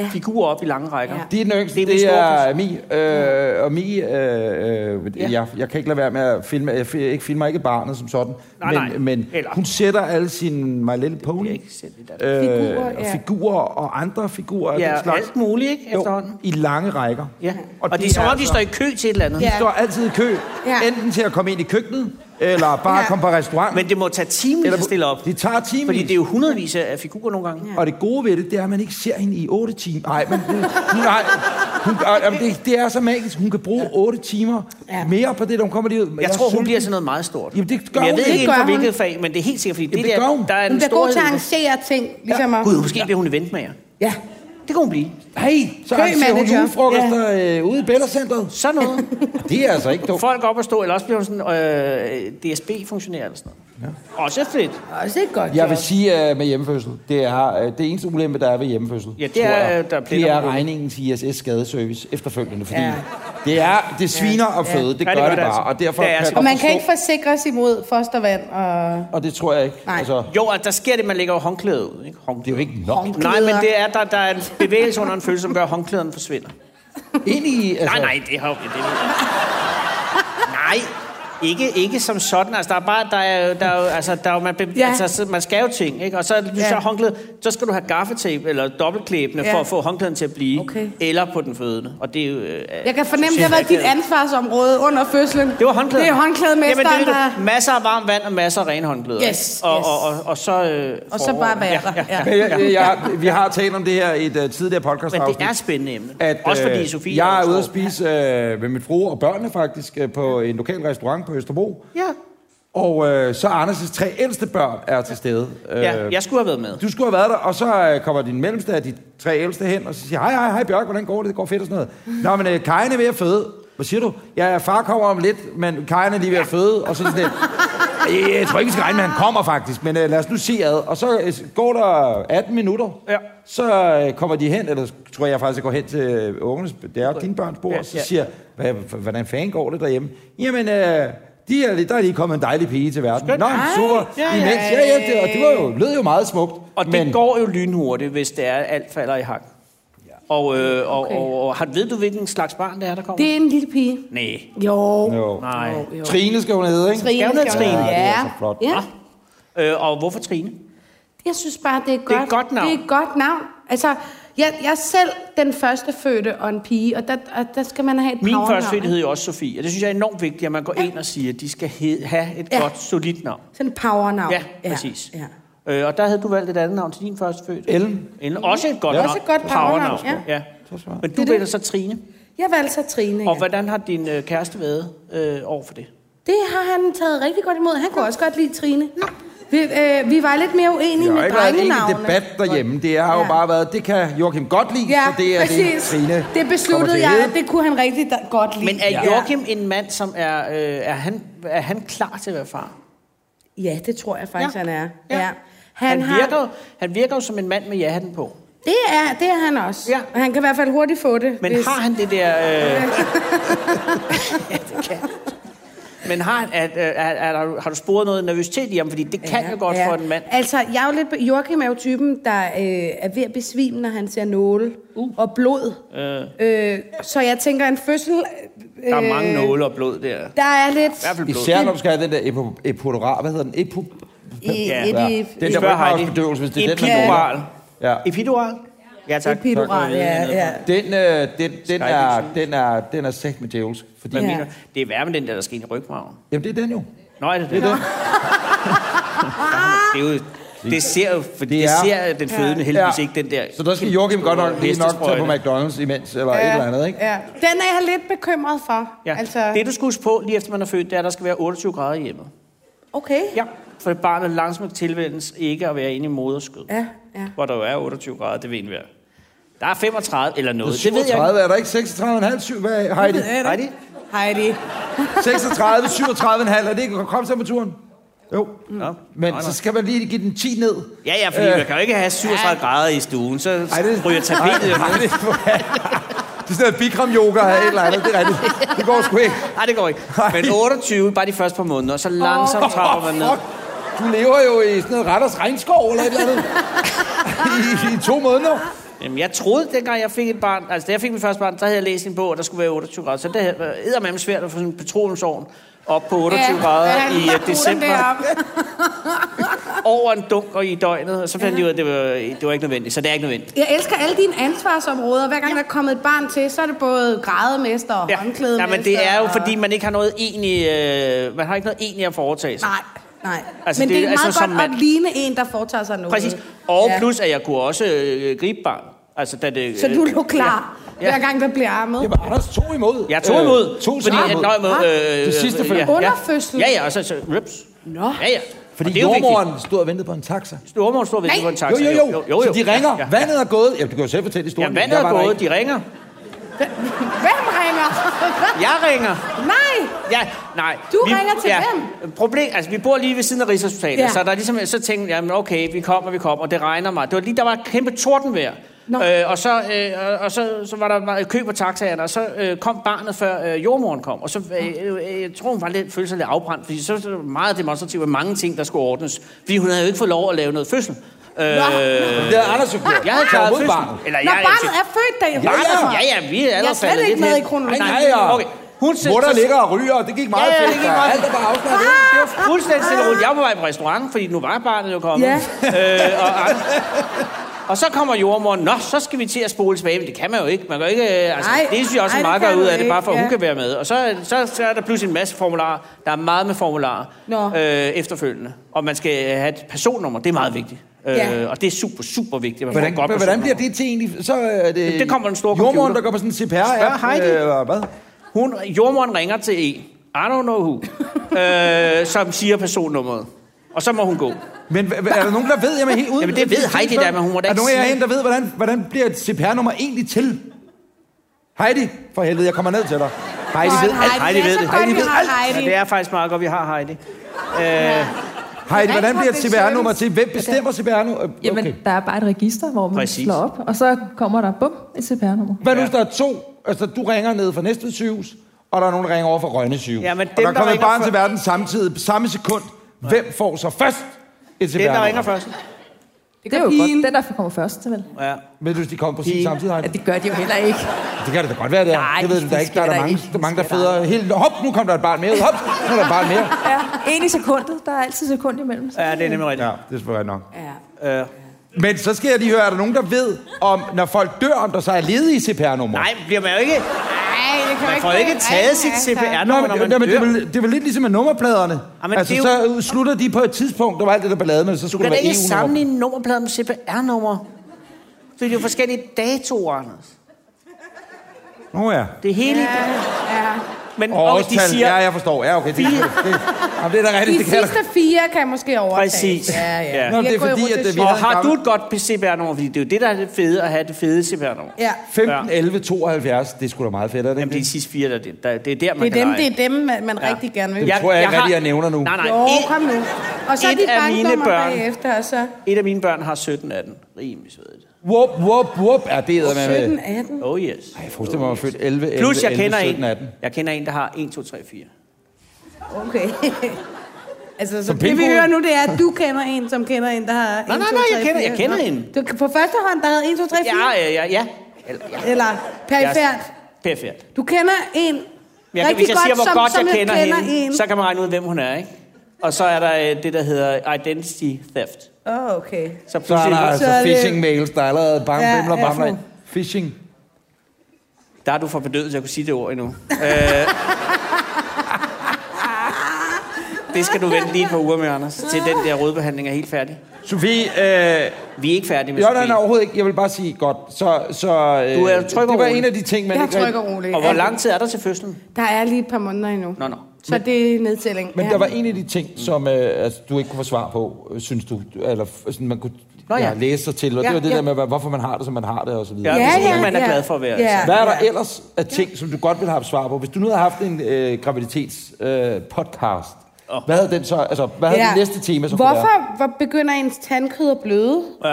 S1: øh, figurer op i lange rækker.
S5: Ja.
S2: De er den yngste,
S1: Det er min
S2: det
S1: store
S2: er Mi. Øh, og Mi, øh, øh,
S1: Ja.
S2: jeg, jeg kan ikke lade være med at filme, jeg fi- ikke filmer ikke barnet som sådan,
S1: Nej,
S2: men,
S1: nej.
S2: men
S1: Eller-
S2: hun sætter alle sine My Little Pony
S1: Jeg ikke selv det der.
S2: øh,
S5: Figurer,
S2: og
S5: ja.
S2: figurer og andre figurer af den
S1: Ja,
S2: slags
S1: alt muligt, ikke?
S2: jo,
S1: Efterhånden.
S2: i lange rækker.
S1: Ja. Og, og det er altså- som om, de står i kø til et eller andet.
S5: Ja.
S2: de står altid i kø,
S5: Ja.
S2: enten til at komme ind i køkkenet, eller bare
S5: Ja.
S2: komme på restaurant.
S1: Men det må tage timer
S2: eller,
S1: at stille op.
S2: De tager timer.
S1: Fordi det er jo hundredvis af af figurer nogle gange.
S2: Og det gode ved det, det er, at man ikke ser hende i 8 timer. Nej, men hun, hun, nej, hun, ej, jamen, det, det er så magisk. Hun kan bruge 8 timer
S5: Ja.
S2: mere på det, når hun kommer derud.
S1: Jeg tror, hun
S2: synes-
S1: bliver sådan noget meget stort.
S2: Jamen, det gør
S1: men jeg
S2: hun.
S1: ved
S2: Det
S1: ikke inden
S5: gør
S1: for
S5: hun.
S1: hvilket fag, men det er helt sikkert, fordi
S2: Jamen,
S1: det,
S2: det gør hun.
S1: der, der er
S5: Hun
S1: en
S5: bliver god til at
S1: stor...
S5: arrangere ting, ligesom ja.
S1: Gud, måske bliver hun eventmager.
S5: Ja.
S1: Det kan hun blive.
S2: Hey, så
S5: Kø
S2: arrangerer hun
S5: manager.
S2: julefrokoster ja. øh, ude i Bellacenteret.
S1: Sådan
S5: (laughs)
S1: noget.
S2: Det er altså ikke dumt.
S1: Folk op og stå, eller også bliver hun sådan øh, DSB-funktionær eller sådan noget. Ja. Også fedt.
S5: Også et godt
S2: Jeg
S5: job.
S2: vil
S1: Altså-
S2: sige øh, med hjemmefødsel, det er øh, det eneste ulempe, der er ved hjemmefødsel,
S1: Ja, det
S2: tror
S1: er,
S2: jeg,
S1: øh, der er
S2: det
S1: pletter
S2: er
S1: på.
S2: regningen til ISS skadeservice efterfølgende, fordi ja.
S5: Ja.
S2: Det er, det sviner og føde, det
S1: Ja,
S2: gør
S1: det
S2: det,
S1: gør det
S2: bare.
S1: altså.
S2: Og derfor
S1: Det er
S2: kan
S1: altså-
S2: jeg godt
S5: Og man kan ikke
S2: forstå,
S5: forsikres imod fostervand og...
S2: og det tror jeg ikke. Altså,
S5: Nej.
S1: Jo, og der sker det, man lægger jo håndklædet ud. Ikke?
S2: det er
S1: Håndklæde.
S2: jo ikke nok.
S1: Nej, men det er, der, der er en bevægelse under en følelse, som gør, at håndklæderne forsvinder.
S2: Ind i, altså,
S1: Nej, nej, det har jo... Det nej, ikke, ikke som sådan. Altså, der er bare, der er, jo- der er jo, altså, der er jo, man, be,
S5: Ja.
S1: ja. altså, så- man skal jo ting, ikke? Og så, ja. så
S5: Ja.
S1: er håndklædet, så skal du have gaffetape eller dobbeltklæbende
S5: Ja.
S1: ja. for at få håndklæden til at blive.
S5: Okay.
S1: Eller på den fødende. Og det er jo... Øh,
S5: Jeg kan fornemme, det har været dit ansvarsområde under fødslen.
S1: Det var håndklæder.
S5: Det er håndklædemesteren,
S1: Jamen, det er
S5: der...
S1: det. Masser af varmt vand og masser af rene håndklæder.
S5: Yes,
S1: ikke? og,
S5: yes.
S1: Og, og, og, så... Øh,
S5: Og så bare være der. Ja.
S2: Men jeg, jeg, jeg, vi har talt om det her i et uh, tidligere podcast
S1: Men det er et spændende emne.
S2: at,
S1: Også fordi
S2: øh,
S1: Sofie...
S2: Jeg er ude at
S1: Ohlsgaard-
S2: spise øh, med min fru og børnene faktisk øh, på en lokal restaurant på Østerbro.
S1: Ja.
S2: Og øh, så Anders' tre ældste børn er til stede. Øh,
S1: ja, jeg skulle have været med.
S2: Du skulle have været der, og så øh, kommer din mellemste af de tre ældste hen, og så siger, hej, hej, hej Bjørk, hvordan går det? Det går fedt og sådan noget. Nå, men øh, Kajen er ved at føde. Hvad siger du? Ja, far kommer om lidt, men Kajen er lige ved at føde, og så sådan lidt. "Øh, Jeg tror ikke, vi skal regne med, at han kommer faktisk, men øh, lad os nu se ad. Og så øh, går der 18 minutter,
S1: Ja.
S2: så øh, kommer de hen, eller tror jeg faktisk, jeg går hen til ungernes, det er dine børns bord,
S1: Ja,
S2: og så
S1: ja.
S2: siger, "Hvad- hvordan fanden går det derhjemme? Jamen, øh, de er, lige- der er lige kommet en dejlig pige til verden. Nå, super.
S1: Ja, ja,
S2: Imens. Ja, ja, det, og det var jo, lød jo meget smukt.
S1: Og det men... går jo lynhurtigt, hvis det er, alt falder i hak. Og, øh, og, okay. og, og, og har- ved du, hvilken slags barn det er, der kommer?
S5: Det er en lille pige.
S1: Nej.
S5: Jo.
S2: Jo.
S1: Nej.
S5: jo.
S2: Trine skal hun hedde, ikke?
S5: Trine
S1: Skal hun hedde
S5: skal hun
S1: Trine?
S5: hedde.
S2: Ja, det er
S5: Ja.
S2: altså flot.
S5: ja.
S1: Nå. Øh, og hvorfor Trine?
S5: Jeg synes bare, det er godt.
S1: er et godt navn.
S5: Det er et godt navn. Altså, jeg, jeg er selv den første fødte og en pige, og der, og der skal man have et
S1: Min
S5: powernavn,
S1: første fødte
S5: ikke?
S1: hed jo også Sofie, og det synes jeg er enormt vigtigt, at man går ind og siger, at de skal he- have et
S5: Ja.
S1: ja. godt, solidt navn.
S5: Sådan et powernavn.
S1: Ja, præcis.
S5: Ja.
S1: Øh, og der havde du valgt et andet navn til din første fødte.
S2: Ellen.
S1: Ellen. Også et godt
S2: Ja.
S1: navn.
S5: Også et godt powernavn,
S1: Ja.
S2: smart.
S1: Men du vælger så Trine.
S5: Jeg valgte så Trine.
S1: Og
S5: Ja.
S1: hvordan har din øh, kæreste været øh, over for det?
S5: Det har han taget rigtig godt imod. Han kunne også godt lide Trine. Vi, øh, vi var lidt mere uenige
S2: Det har
S5: med
S2: ikke været en egentlig
S5: drengenavnene.
S2: debat derhjemme. Det har jo
S5: Ja.
S2: bare været, det kan Joachim godt lide,
S5: Ja,
S2: så det er
S5: præcis.
S2: det, Trine
S5: det
S2: kommer
S5: besluttede
S2: til at
S5: jeg,
S2: hedde.
S5: at det kunne han rigtig da- godt lide.
S1: Men er Joachim en mand, som er, øh, er, han, er han klar til at være far?
S5: Ja, det tror jeg faktisk,
S1: Ja.
S5: han er. Ja.
S1: Ja.
S5: Han,
S1: Han, han, virker,
S5: har,
S1: jo- han virker jo som en mand med ja-hatten på.
S5: det, er, det er han også.
S1: Ja.
S5: Og han kan i hvert fald hurtigt få det.
S1: Men har han det
S5: (laughs)
S1: der... Øh... ja, det kan. Men har, han- er, er, er, er, der- har du sporet noget nervøsitet i ham? Fordi det kan jo godt for en mand.
S5: Altså, jeg er jo lidt... Joachim er jo typen, der øh, er ved at besvime, når han ser nåle uh. og blod. Uh. Øh, så jeg tænker, en fødsel... Øh,
S1: Der er mange nåle og blod der. I
S5: Der er lidt...
S1: hvert fald blod.
S2: Især når du skal have den der epo- epidural, hvad hedder den? Epo...
S5: I,
S1: Ja.
S5: ja. et, i,
S2: Den der
S1: Spørg Heidi.
S2: rygmarvsbedøvelse, hvis det er den, man
S1: Epidural.
S2: Ja.
S1: Epidural? Ja, tak.
S5: epidural, ja, ja.
S2: Den, øh, den, den, er, den, er, den er sagt med djævelsk. Fordi,
S1: Hvad
S5: Ja.
S1: mener du? Det er værre med den der, der skal ind i rygmarven.
S2: Jamen, det er den jo.
S1: Nå, er det det? Det, det. det, er jo, det ser jo, for det,
S2: er-
S1: ser den fødende heldigvis
S2: Ja.
S1: ikke, den der.
S2: Så der skal Joachim godt nok lige nok tage på
S1: hestesprøjte.
S2: McDonald's imens, eller et eller andet, ikke?
S5: Ja. Den er jeg lidt bekymret for.
S1: Ja. Altså... Det, du skal huske på, lige efter man er født, det er, at der skal være 28 grader hjemme.
S5: Okay.
S1: Ja. For barnet langsomt tilvænnes ikke at være inde i moderskød.
S5: Ja, ja.
S1: Hvor der jo er 28 grader, det ved enhver. Der er 35 eller noget. Det ved jeg
S2: 37, er der ikke 36,5? Syv- Hvad, Heidi?
S1: ikke. Heidi?
S5: Heidi.
S2: 36, 37,5, er det ikke kropstemperaturen? Jo.
S1: Nå.
S2: Men
S1: Nå, nå.
S2: så skal man lige give den 10 ned.
S1: Ja, ja, fordi
S2: Øh.
S1: øh. man kan jo ikke have 37 grader i stuen, så
S2: Ej, det-
S1: ryger tapetet jo
S2: Ej,
S1: ned.
S2: det, er for- det er sådan noget bikram yoga eller et eller andet. Det er rigtigt. Det går sgu ikke.
S1: Nej, det går ikke. Men 28, bare de første par måneder, og så langsomt trapper man ned.
S2: Fuck. Du lever jo i sådan noget Randers regnskov eller et eller andet. I, i to måneder.
S1: Jamen, jeg troede, dengang jeg fik et barn, altså da jeg fik mit første barn, der havde jeg læst en bog, og der skulle være 28 grader. Så det er med svært at få sådan en petroleumsovn op på 28 ja, grader
S5: ja,
S1: i
S5: han
S1: uh,
S5: skruer
S1: december.
S5: den deroppe.
S1: Over en dunk og i døgnet, og så fandt de ud af, at det var, det var ikke nødvendigt. Så det er ikke nødvendigt.
S5: Jeg elsker alle dine ansvarsområder. Hver gang der er kommet et barn til, så er det både grædemester og ja. håndklædemester.
S1: ja, men det er jo,
S5: og-
S1: fordi man ikke har noget egentlig, øh, man har ikke noget egentlig at foretage sig.
S5: Nej, nej. Altså,
S1: Altså,
S5: men det,
S1: det-
S5: er meget
S1: altså,
S5: godt
S1: som
S5: man...
S1: mand-
S5: at ligne en, der foretager sig noget.
S1: Præcis. Og plus, at jeg kunne også øh, gribe barn. Altså, da det,
S5: Så
S1: øh,
S5: du lå klar, ja.
S1: Ja.
S5: hver gang der bliver armet.
S2: Jamen, Anders tog imod.
S1: Jeg tog imod.
S2: Øh, to
S1: fordi,
S2: sammen.
S1: at, nøj, med,
S5: Ah,
S1: øh,
S2: det sidste
S1: øh,
S2: forløb.
S5: Under fødslen?
S1: Ja, ja, og så, så rips.
S5: Nå.
S1: Ja, ja.
S2: Fordi
S1: Og det er jo vigtigt.
S2: jordmoren stod og ventede på en taxa.
S1: Jordmoren står ved
S5: Nej.
S1: på en
S2: Jo,
S1: taxa.
S2: jo, jo. Så de ringer. Vandet er gået. Ja, du kan jo selv fortælle
S1: Ja,
S2: historien.
S1: vandet
S2: Jeg
S1: er
S2: var der
S1: gået,
S2: ikke.
S1: de ringer.
S5: Hvem ringer?
S1: Jeg ringer.
S5: (laughs) nej!
S1: Ja, nej.
S5: Du ringer til
S1: hvem? Problem, altså, vi bor lige ved siden af Rigshospitalet,
S5: Ja.
S1: ja. så der er ligesom, så tænkte jeg, jamen, okay, vi kommer, vi kommer, og det regner mig. Det var lige, der var et kæmpe tordenvejr.
S5: Nå.
S1: Øh, og så, øh, og- og så, så var der meget kø på taxaerne, og så øh, kom barnet, før øh, jordmoren kom. Og så øh, øh, jeg tror hun var lidt, følte sig lidt afbrændt, fordi så så var det meget demonstrativt af mange ting, der skulle ordnes. Fordi hun havde jo ikke fået lov at lave noget fødsel. Øh,
S2: Det er Anders jo gjort.
S1: jeg havde
S2: Tag
S1: klaret
S2: imod
S1: fødsel.
S2: Ah. barnet.
S1: Eller
S5: Når
S1: jeg,
S5: barnet er født, da I
S1: Ja,
S5: holder
S1: ja, ja, vi er
S5: Jeg er
S1: allerede
S5: slet ikke med i kronologien.
S2: Nej, nej,
S1: okay. Hun
S2: Mor, der ligger og ryger, og det gik meget
S1: Ja, ja, det
S2: fedt,
S1: gik
S2: og
S1: meget Ah!
S2: Alt er bare afslappet.
S1: Det var fuldstændig stille og roligt. Jeg var på vej på restaurant, fordi nu var barnet jo kommet.
S5: Ja.
S1: Øh, og, og så kommer jordmoren, nå, så skal vi til at spole tilbage. Men det kan man jo ikke. Man kan jo ikke øh, altså,
S5: Nej,
S1: det synes jeg også,
S5: nej,
S1: at
S5: det
S1: meget
S5: kan
S1: gør ud
S5: du
S1: af det, bare for at
S5: ikke,
S1: hun
S5: ja.
S1: kan være med. Og så, så, så er der pludselig en masse formularer. Der er meget med formularer
S5: Nå.
S1: øh, efterfølgende. Og man skal øh, have et personnummer. Det er meget vigtigt. Øh,
S5: Ja.
S1: Og det er super, super vigtigt. at Man
S2: Hvordan,
S1: får et godt
S2: men hvordan
S1: personnummer.
S2: bliver det til egentlig? Så er det,
S1: Det kommer den store
S2: jordmoren,
S1: computer.
S2: der går på sådan en CPR. -app,
S1: Spørg Heidi.
S2: øh, Eller hvad?
S1: Hun, jordmoren ringer til en, I don't know
S2: (laughs)
S1: who, øh, som siger personnummeret. Og så må hun gå.
S2: Men hva- hva- er der nogen, der ved? Jamen, helt uden,
S1: Jamen, det ved Heidi da, men hun må da
S2: Er
S1: ikke
S2: der nogen af jer
S1: sige-
S2: herinde, der ved, hvordan, hvordan bliver et CPR-nummer egentlig til? Heidi, for helvede, jeg kommer ned til dig. Heidi ved alt.
S1: Heidi ved det.
S5: Heidi
S2: Heidi
S5: ved
S2: ved alt.
S1: Ja,
S5: Heidi.
S1: det er faktisk meget godt, vi har Heidi.
S2: Heidi, hvordan
S5: Rigtig
S2: bliver et
S5: public
S2: CPR-nummer
S5: service.
S2: til? Hvem bestemmer CPR-nummer?
S4: Jamen,
S2: Okay.
S4: der er bare et register, hvor man
S1: Præcis.
S4: Præcis. slår op, og så kommer der, bum, et CPR-nummer.
S2: Hvad nu, hvis der er to? Altså, du ringer ned fra næste sygehus, og der er nogen, der ringer over fra Rønne sygehus.
S1: Ja, men
S2: og
S1: dem,
S2: der
S1: der
S2: kommer et
S1: ringer
S2: barn
S1: for-
S2: til verden samtidig, samme sekund. Hvem får så først et
S1: Den, der ringer
S2: CPR-nummer?
S1: først.
S4: Det, det er jo
S5: pigen.
S4: godt. Den, der kommer først, så vel?
S1: Ja.
S2: Men hvis de kommer præcis
S1: Pigen.
S2: samtidig, Heidi?
S4: Ja, det gør de jo heller ikke.
S2: Det kan det da godt være, det er.
S4: Nej,
S2: det ved
S4: det
S2: du da ikke. Der er der
S4: sker der
S2: mange,
S4: ikke.
S2: der, mange, der
S4: Det sker der
S2: federe. Helt, hop, nu kom der et barn mere. Hop, nu er der et barn mere.
S4: Ja, en i sekundet. Der er altid sekund imellem. Så.
S1: (laughs) ja, det er nemlig rigtigt.
S2: Ja, det er selvfølgelig nok.
S5: Ja.
S1: Øh,
S2: Men så skal jeg lige høre, er der nogen, der ved, om når folk dør, om der så er ledige CPR-numre?
S1: nej, bliver man jo ikke...
S5: Nej, det kan
S1: Man får ikke taget sit
S2: Nå,
S1: CPR-nummer,
S2: men,
S1: når
S2: nej, men
S1: man
S2: det, er
S1: dør.
S2: vel, det er vel lidt ligesom med nummerpladerne.
S1: Jamen,
S2: altså,
S1: det er
S2: så slutter de på et tidspunkt, der var alt det der ballade med, så
S1: Du
S2: skulle
S1: kan
S2: det
S1: da
S2: være E
S1: ikke
S2: EU-nummer.
S1: sammenligne nummerplader med CPR-nummer. Det er jo forskellige datoer, Anders.
S2: Nå ja.
S1: Det er hele...
S5: Ja, ja.
S1: Men
S2: Og
S1: og
S2: årstal.
S1: de siger...
S2: Ja, jeg forstår. Ja, okay. Det, det, det, jamen, det er da rigtigt.
S5: De
S2: Det kan jeg da.
S5: sidste fire kan måske overtage.
S1: Præcis.
S5: Ja,
S1: Ja.
S5: ja.
S2: Nå,
S5: Vi
S2: det er
S5: gået i
S2: fordi, at, øh, vi
S5: rotation.
S1: Og
S2: havde en
S1: har du
S2: gammel-
S1: et godt CPR-nummer? Fordi det er jo det, der er det fede, at have det fede CPR-nummer.
S5: Ja.
S2: 15, 11, 72. Det er sgu da meget fedt, er det
S1: Jamen,
S2: ikke?
S1: det er de sidste fire, der det, der, det er der, man
S5: Det er
S1: kan
S5: dem,
S1: lege.
S5: det er dem, man, man rigtig gerne vil.
S2: Ja. tror jeg ikke rigtig,
S1: har-
S2: jeg nævner nu.
S1: Nej, nej.
S5: Jo,
S1: et,
S5: kom nu. Og så er
S1: et
S5: de
S1: af mine
S5: banknummer
S1: børn. Øh.
S5: bagefter, og så
S1: et af mine børn har 17 af den. Rimelig svedigt.
S2: Whoop, whoop, whoop. Ja, det er med.
S5: 17, 18.
S1: Oh yes.
S2: Jeg forestiller mig, at jeg er født 11, 11,
S1: Plus, jeg
S2: 11,
S1: kender
S2: 17,
S1: en.
S2: 18.
S1: Jeg kender en, der har 1, 2, 3, 4.
S5: Okay. (laughs) altså, så det vi
S2: pingpong?
S5: hører nu, det er, at du kender en, som kender en, der har... en,
S1: nej,
S5: to,
S1: nej, jeg
S5: tre,
S1: kender-
S5: fire.
S1: jeg kender
S5: Nå.
S1: en.
S5: Du, på første hånd, der havde 1, 2, 3, 4?
S1: Ja, ja, ja. ja. Eller, ja.
S5: Eller perifært.
S1: Perfekt.
S5: Du kender en
S1: Men jeg, kan- hvis jeg siger, hvor godt jeg kender, hende, så kan man regne ud, hvem hun er, ikke? Og så er der øh, det, der hedder identity theft.
S5: Åh, oh, okay.
S1: Så
S2: Så er der
S1: pludselig,
S2: altså
S5: Så er det-
S2: phishing mails, der er allerede bang,
S5: Ja,
S2: bimler,
S5: ja.
S2: bamler. ind. Phishing.
S1: der er du for bedøvet, så jeg kunne sige det ord
S5: (laughs)
S1: endnu. Øh, det skal du vente lige et par uger med, Anders, til den der rødbehandling er helt færdig.
S2: Sofie, øh,
S1: Vi er ikke færdige med
S2: jo, nej,
S1: Sofie.
S2: nej, overhovedet ikke. Jeg vil bare sige, godt, så... så øh,
S1: Du er tryg og
S2: Det var
S1: rolig.
S2: en af de ting, man
S5: Jeg er
S2: ikke...
S5: tryg
S2: rigtig-
S5: og rolig.
S1: Og hvor
S5: Ja.
S1: lang tid er der til fødslen?
S5: Der er lige et par måneder endnu.
S1: Nå, nå.
S5: Så det er nedtælling.
S2: Men
S5: Ja.
S2: der var en af de ting, som øh, altså, du ikke kunne få svar på, øh, synes du, eller f- sådan, man kunne
S1: Nå ja.
S2: ja, læse sig til, og
S1: Ja,
S2: det var det
S1: ja.
S2: der med, hvad- hvorfor man har det, som man har det, og så videre. Altså,
S1: Ja, hvis
S5: ja,
S1: ikke man er
S5: ja.
S1: glad for at være.
S5: Ja.
S1: altså.
S2: Hvad er der ellers af ting, som du godt ville have haft svar på? Hvis du nu havde haft en øh, graviditets øh, podcast,
S1: Åh.
S2: hvad havde den så, altså, hvad havde det næste tema så kunne være?
S5: Hvorfor hvor begynder ens tandkød at bløde,
S1: Øh, det kan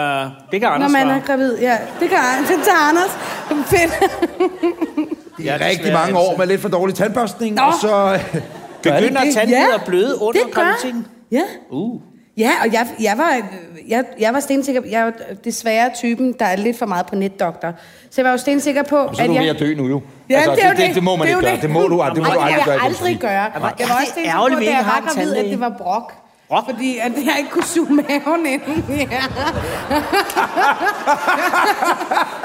S5: når
S1: Anders
S5: man
S1: svare.
S5: er gravid? Ja, det gør (laughs) det tager Anders. Fedt.
S1: Ja,
S2: Det er rigtig mange år med lidt for dårlig tandbørstning,
S5: Nå.
S2: og så...
S1: Begynder
S2: Gør det det?
S1: tandhjul at bløde under
S5: det gør.
S1: graviditeten?
S5: Ja.
S1: Uh.
S5: Ja, og jeg, jeg var, øh, jeg, jeg var stensikker, jeg er jo desværre typen, der er lidt for meget på netdoktor. Så jeg var jo stensikker på,
S2: Så er du ved at dø nu jo.
S5: Ja,
S2: altså,
S5: det, er jo
S2: det, det, det, må man
S5: er
S2: ikke
S5: jo
S2: gøre. Det må du, ald- det må
S5: Ej,
S2: du aldrig gøre. i
S5: Det vil jeg
S2: den
S5: aldrig
S2: familie.
S5: gøre. Jeg var også tænkt på,
S1: ærgerligt,
S5: da
S1: vi ikke
S5: jeg
S1: har
S5: var
S1: en
S5: gravid, at
S1: tandlæge.
S5: det var brok.
S1: Brok?
S5: Fordi at jeg ikke kunne suge maven inden. (laughs) Ja.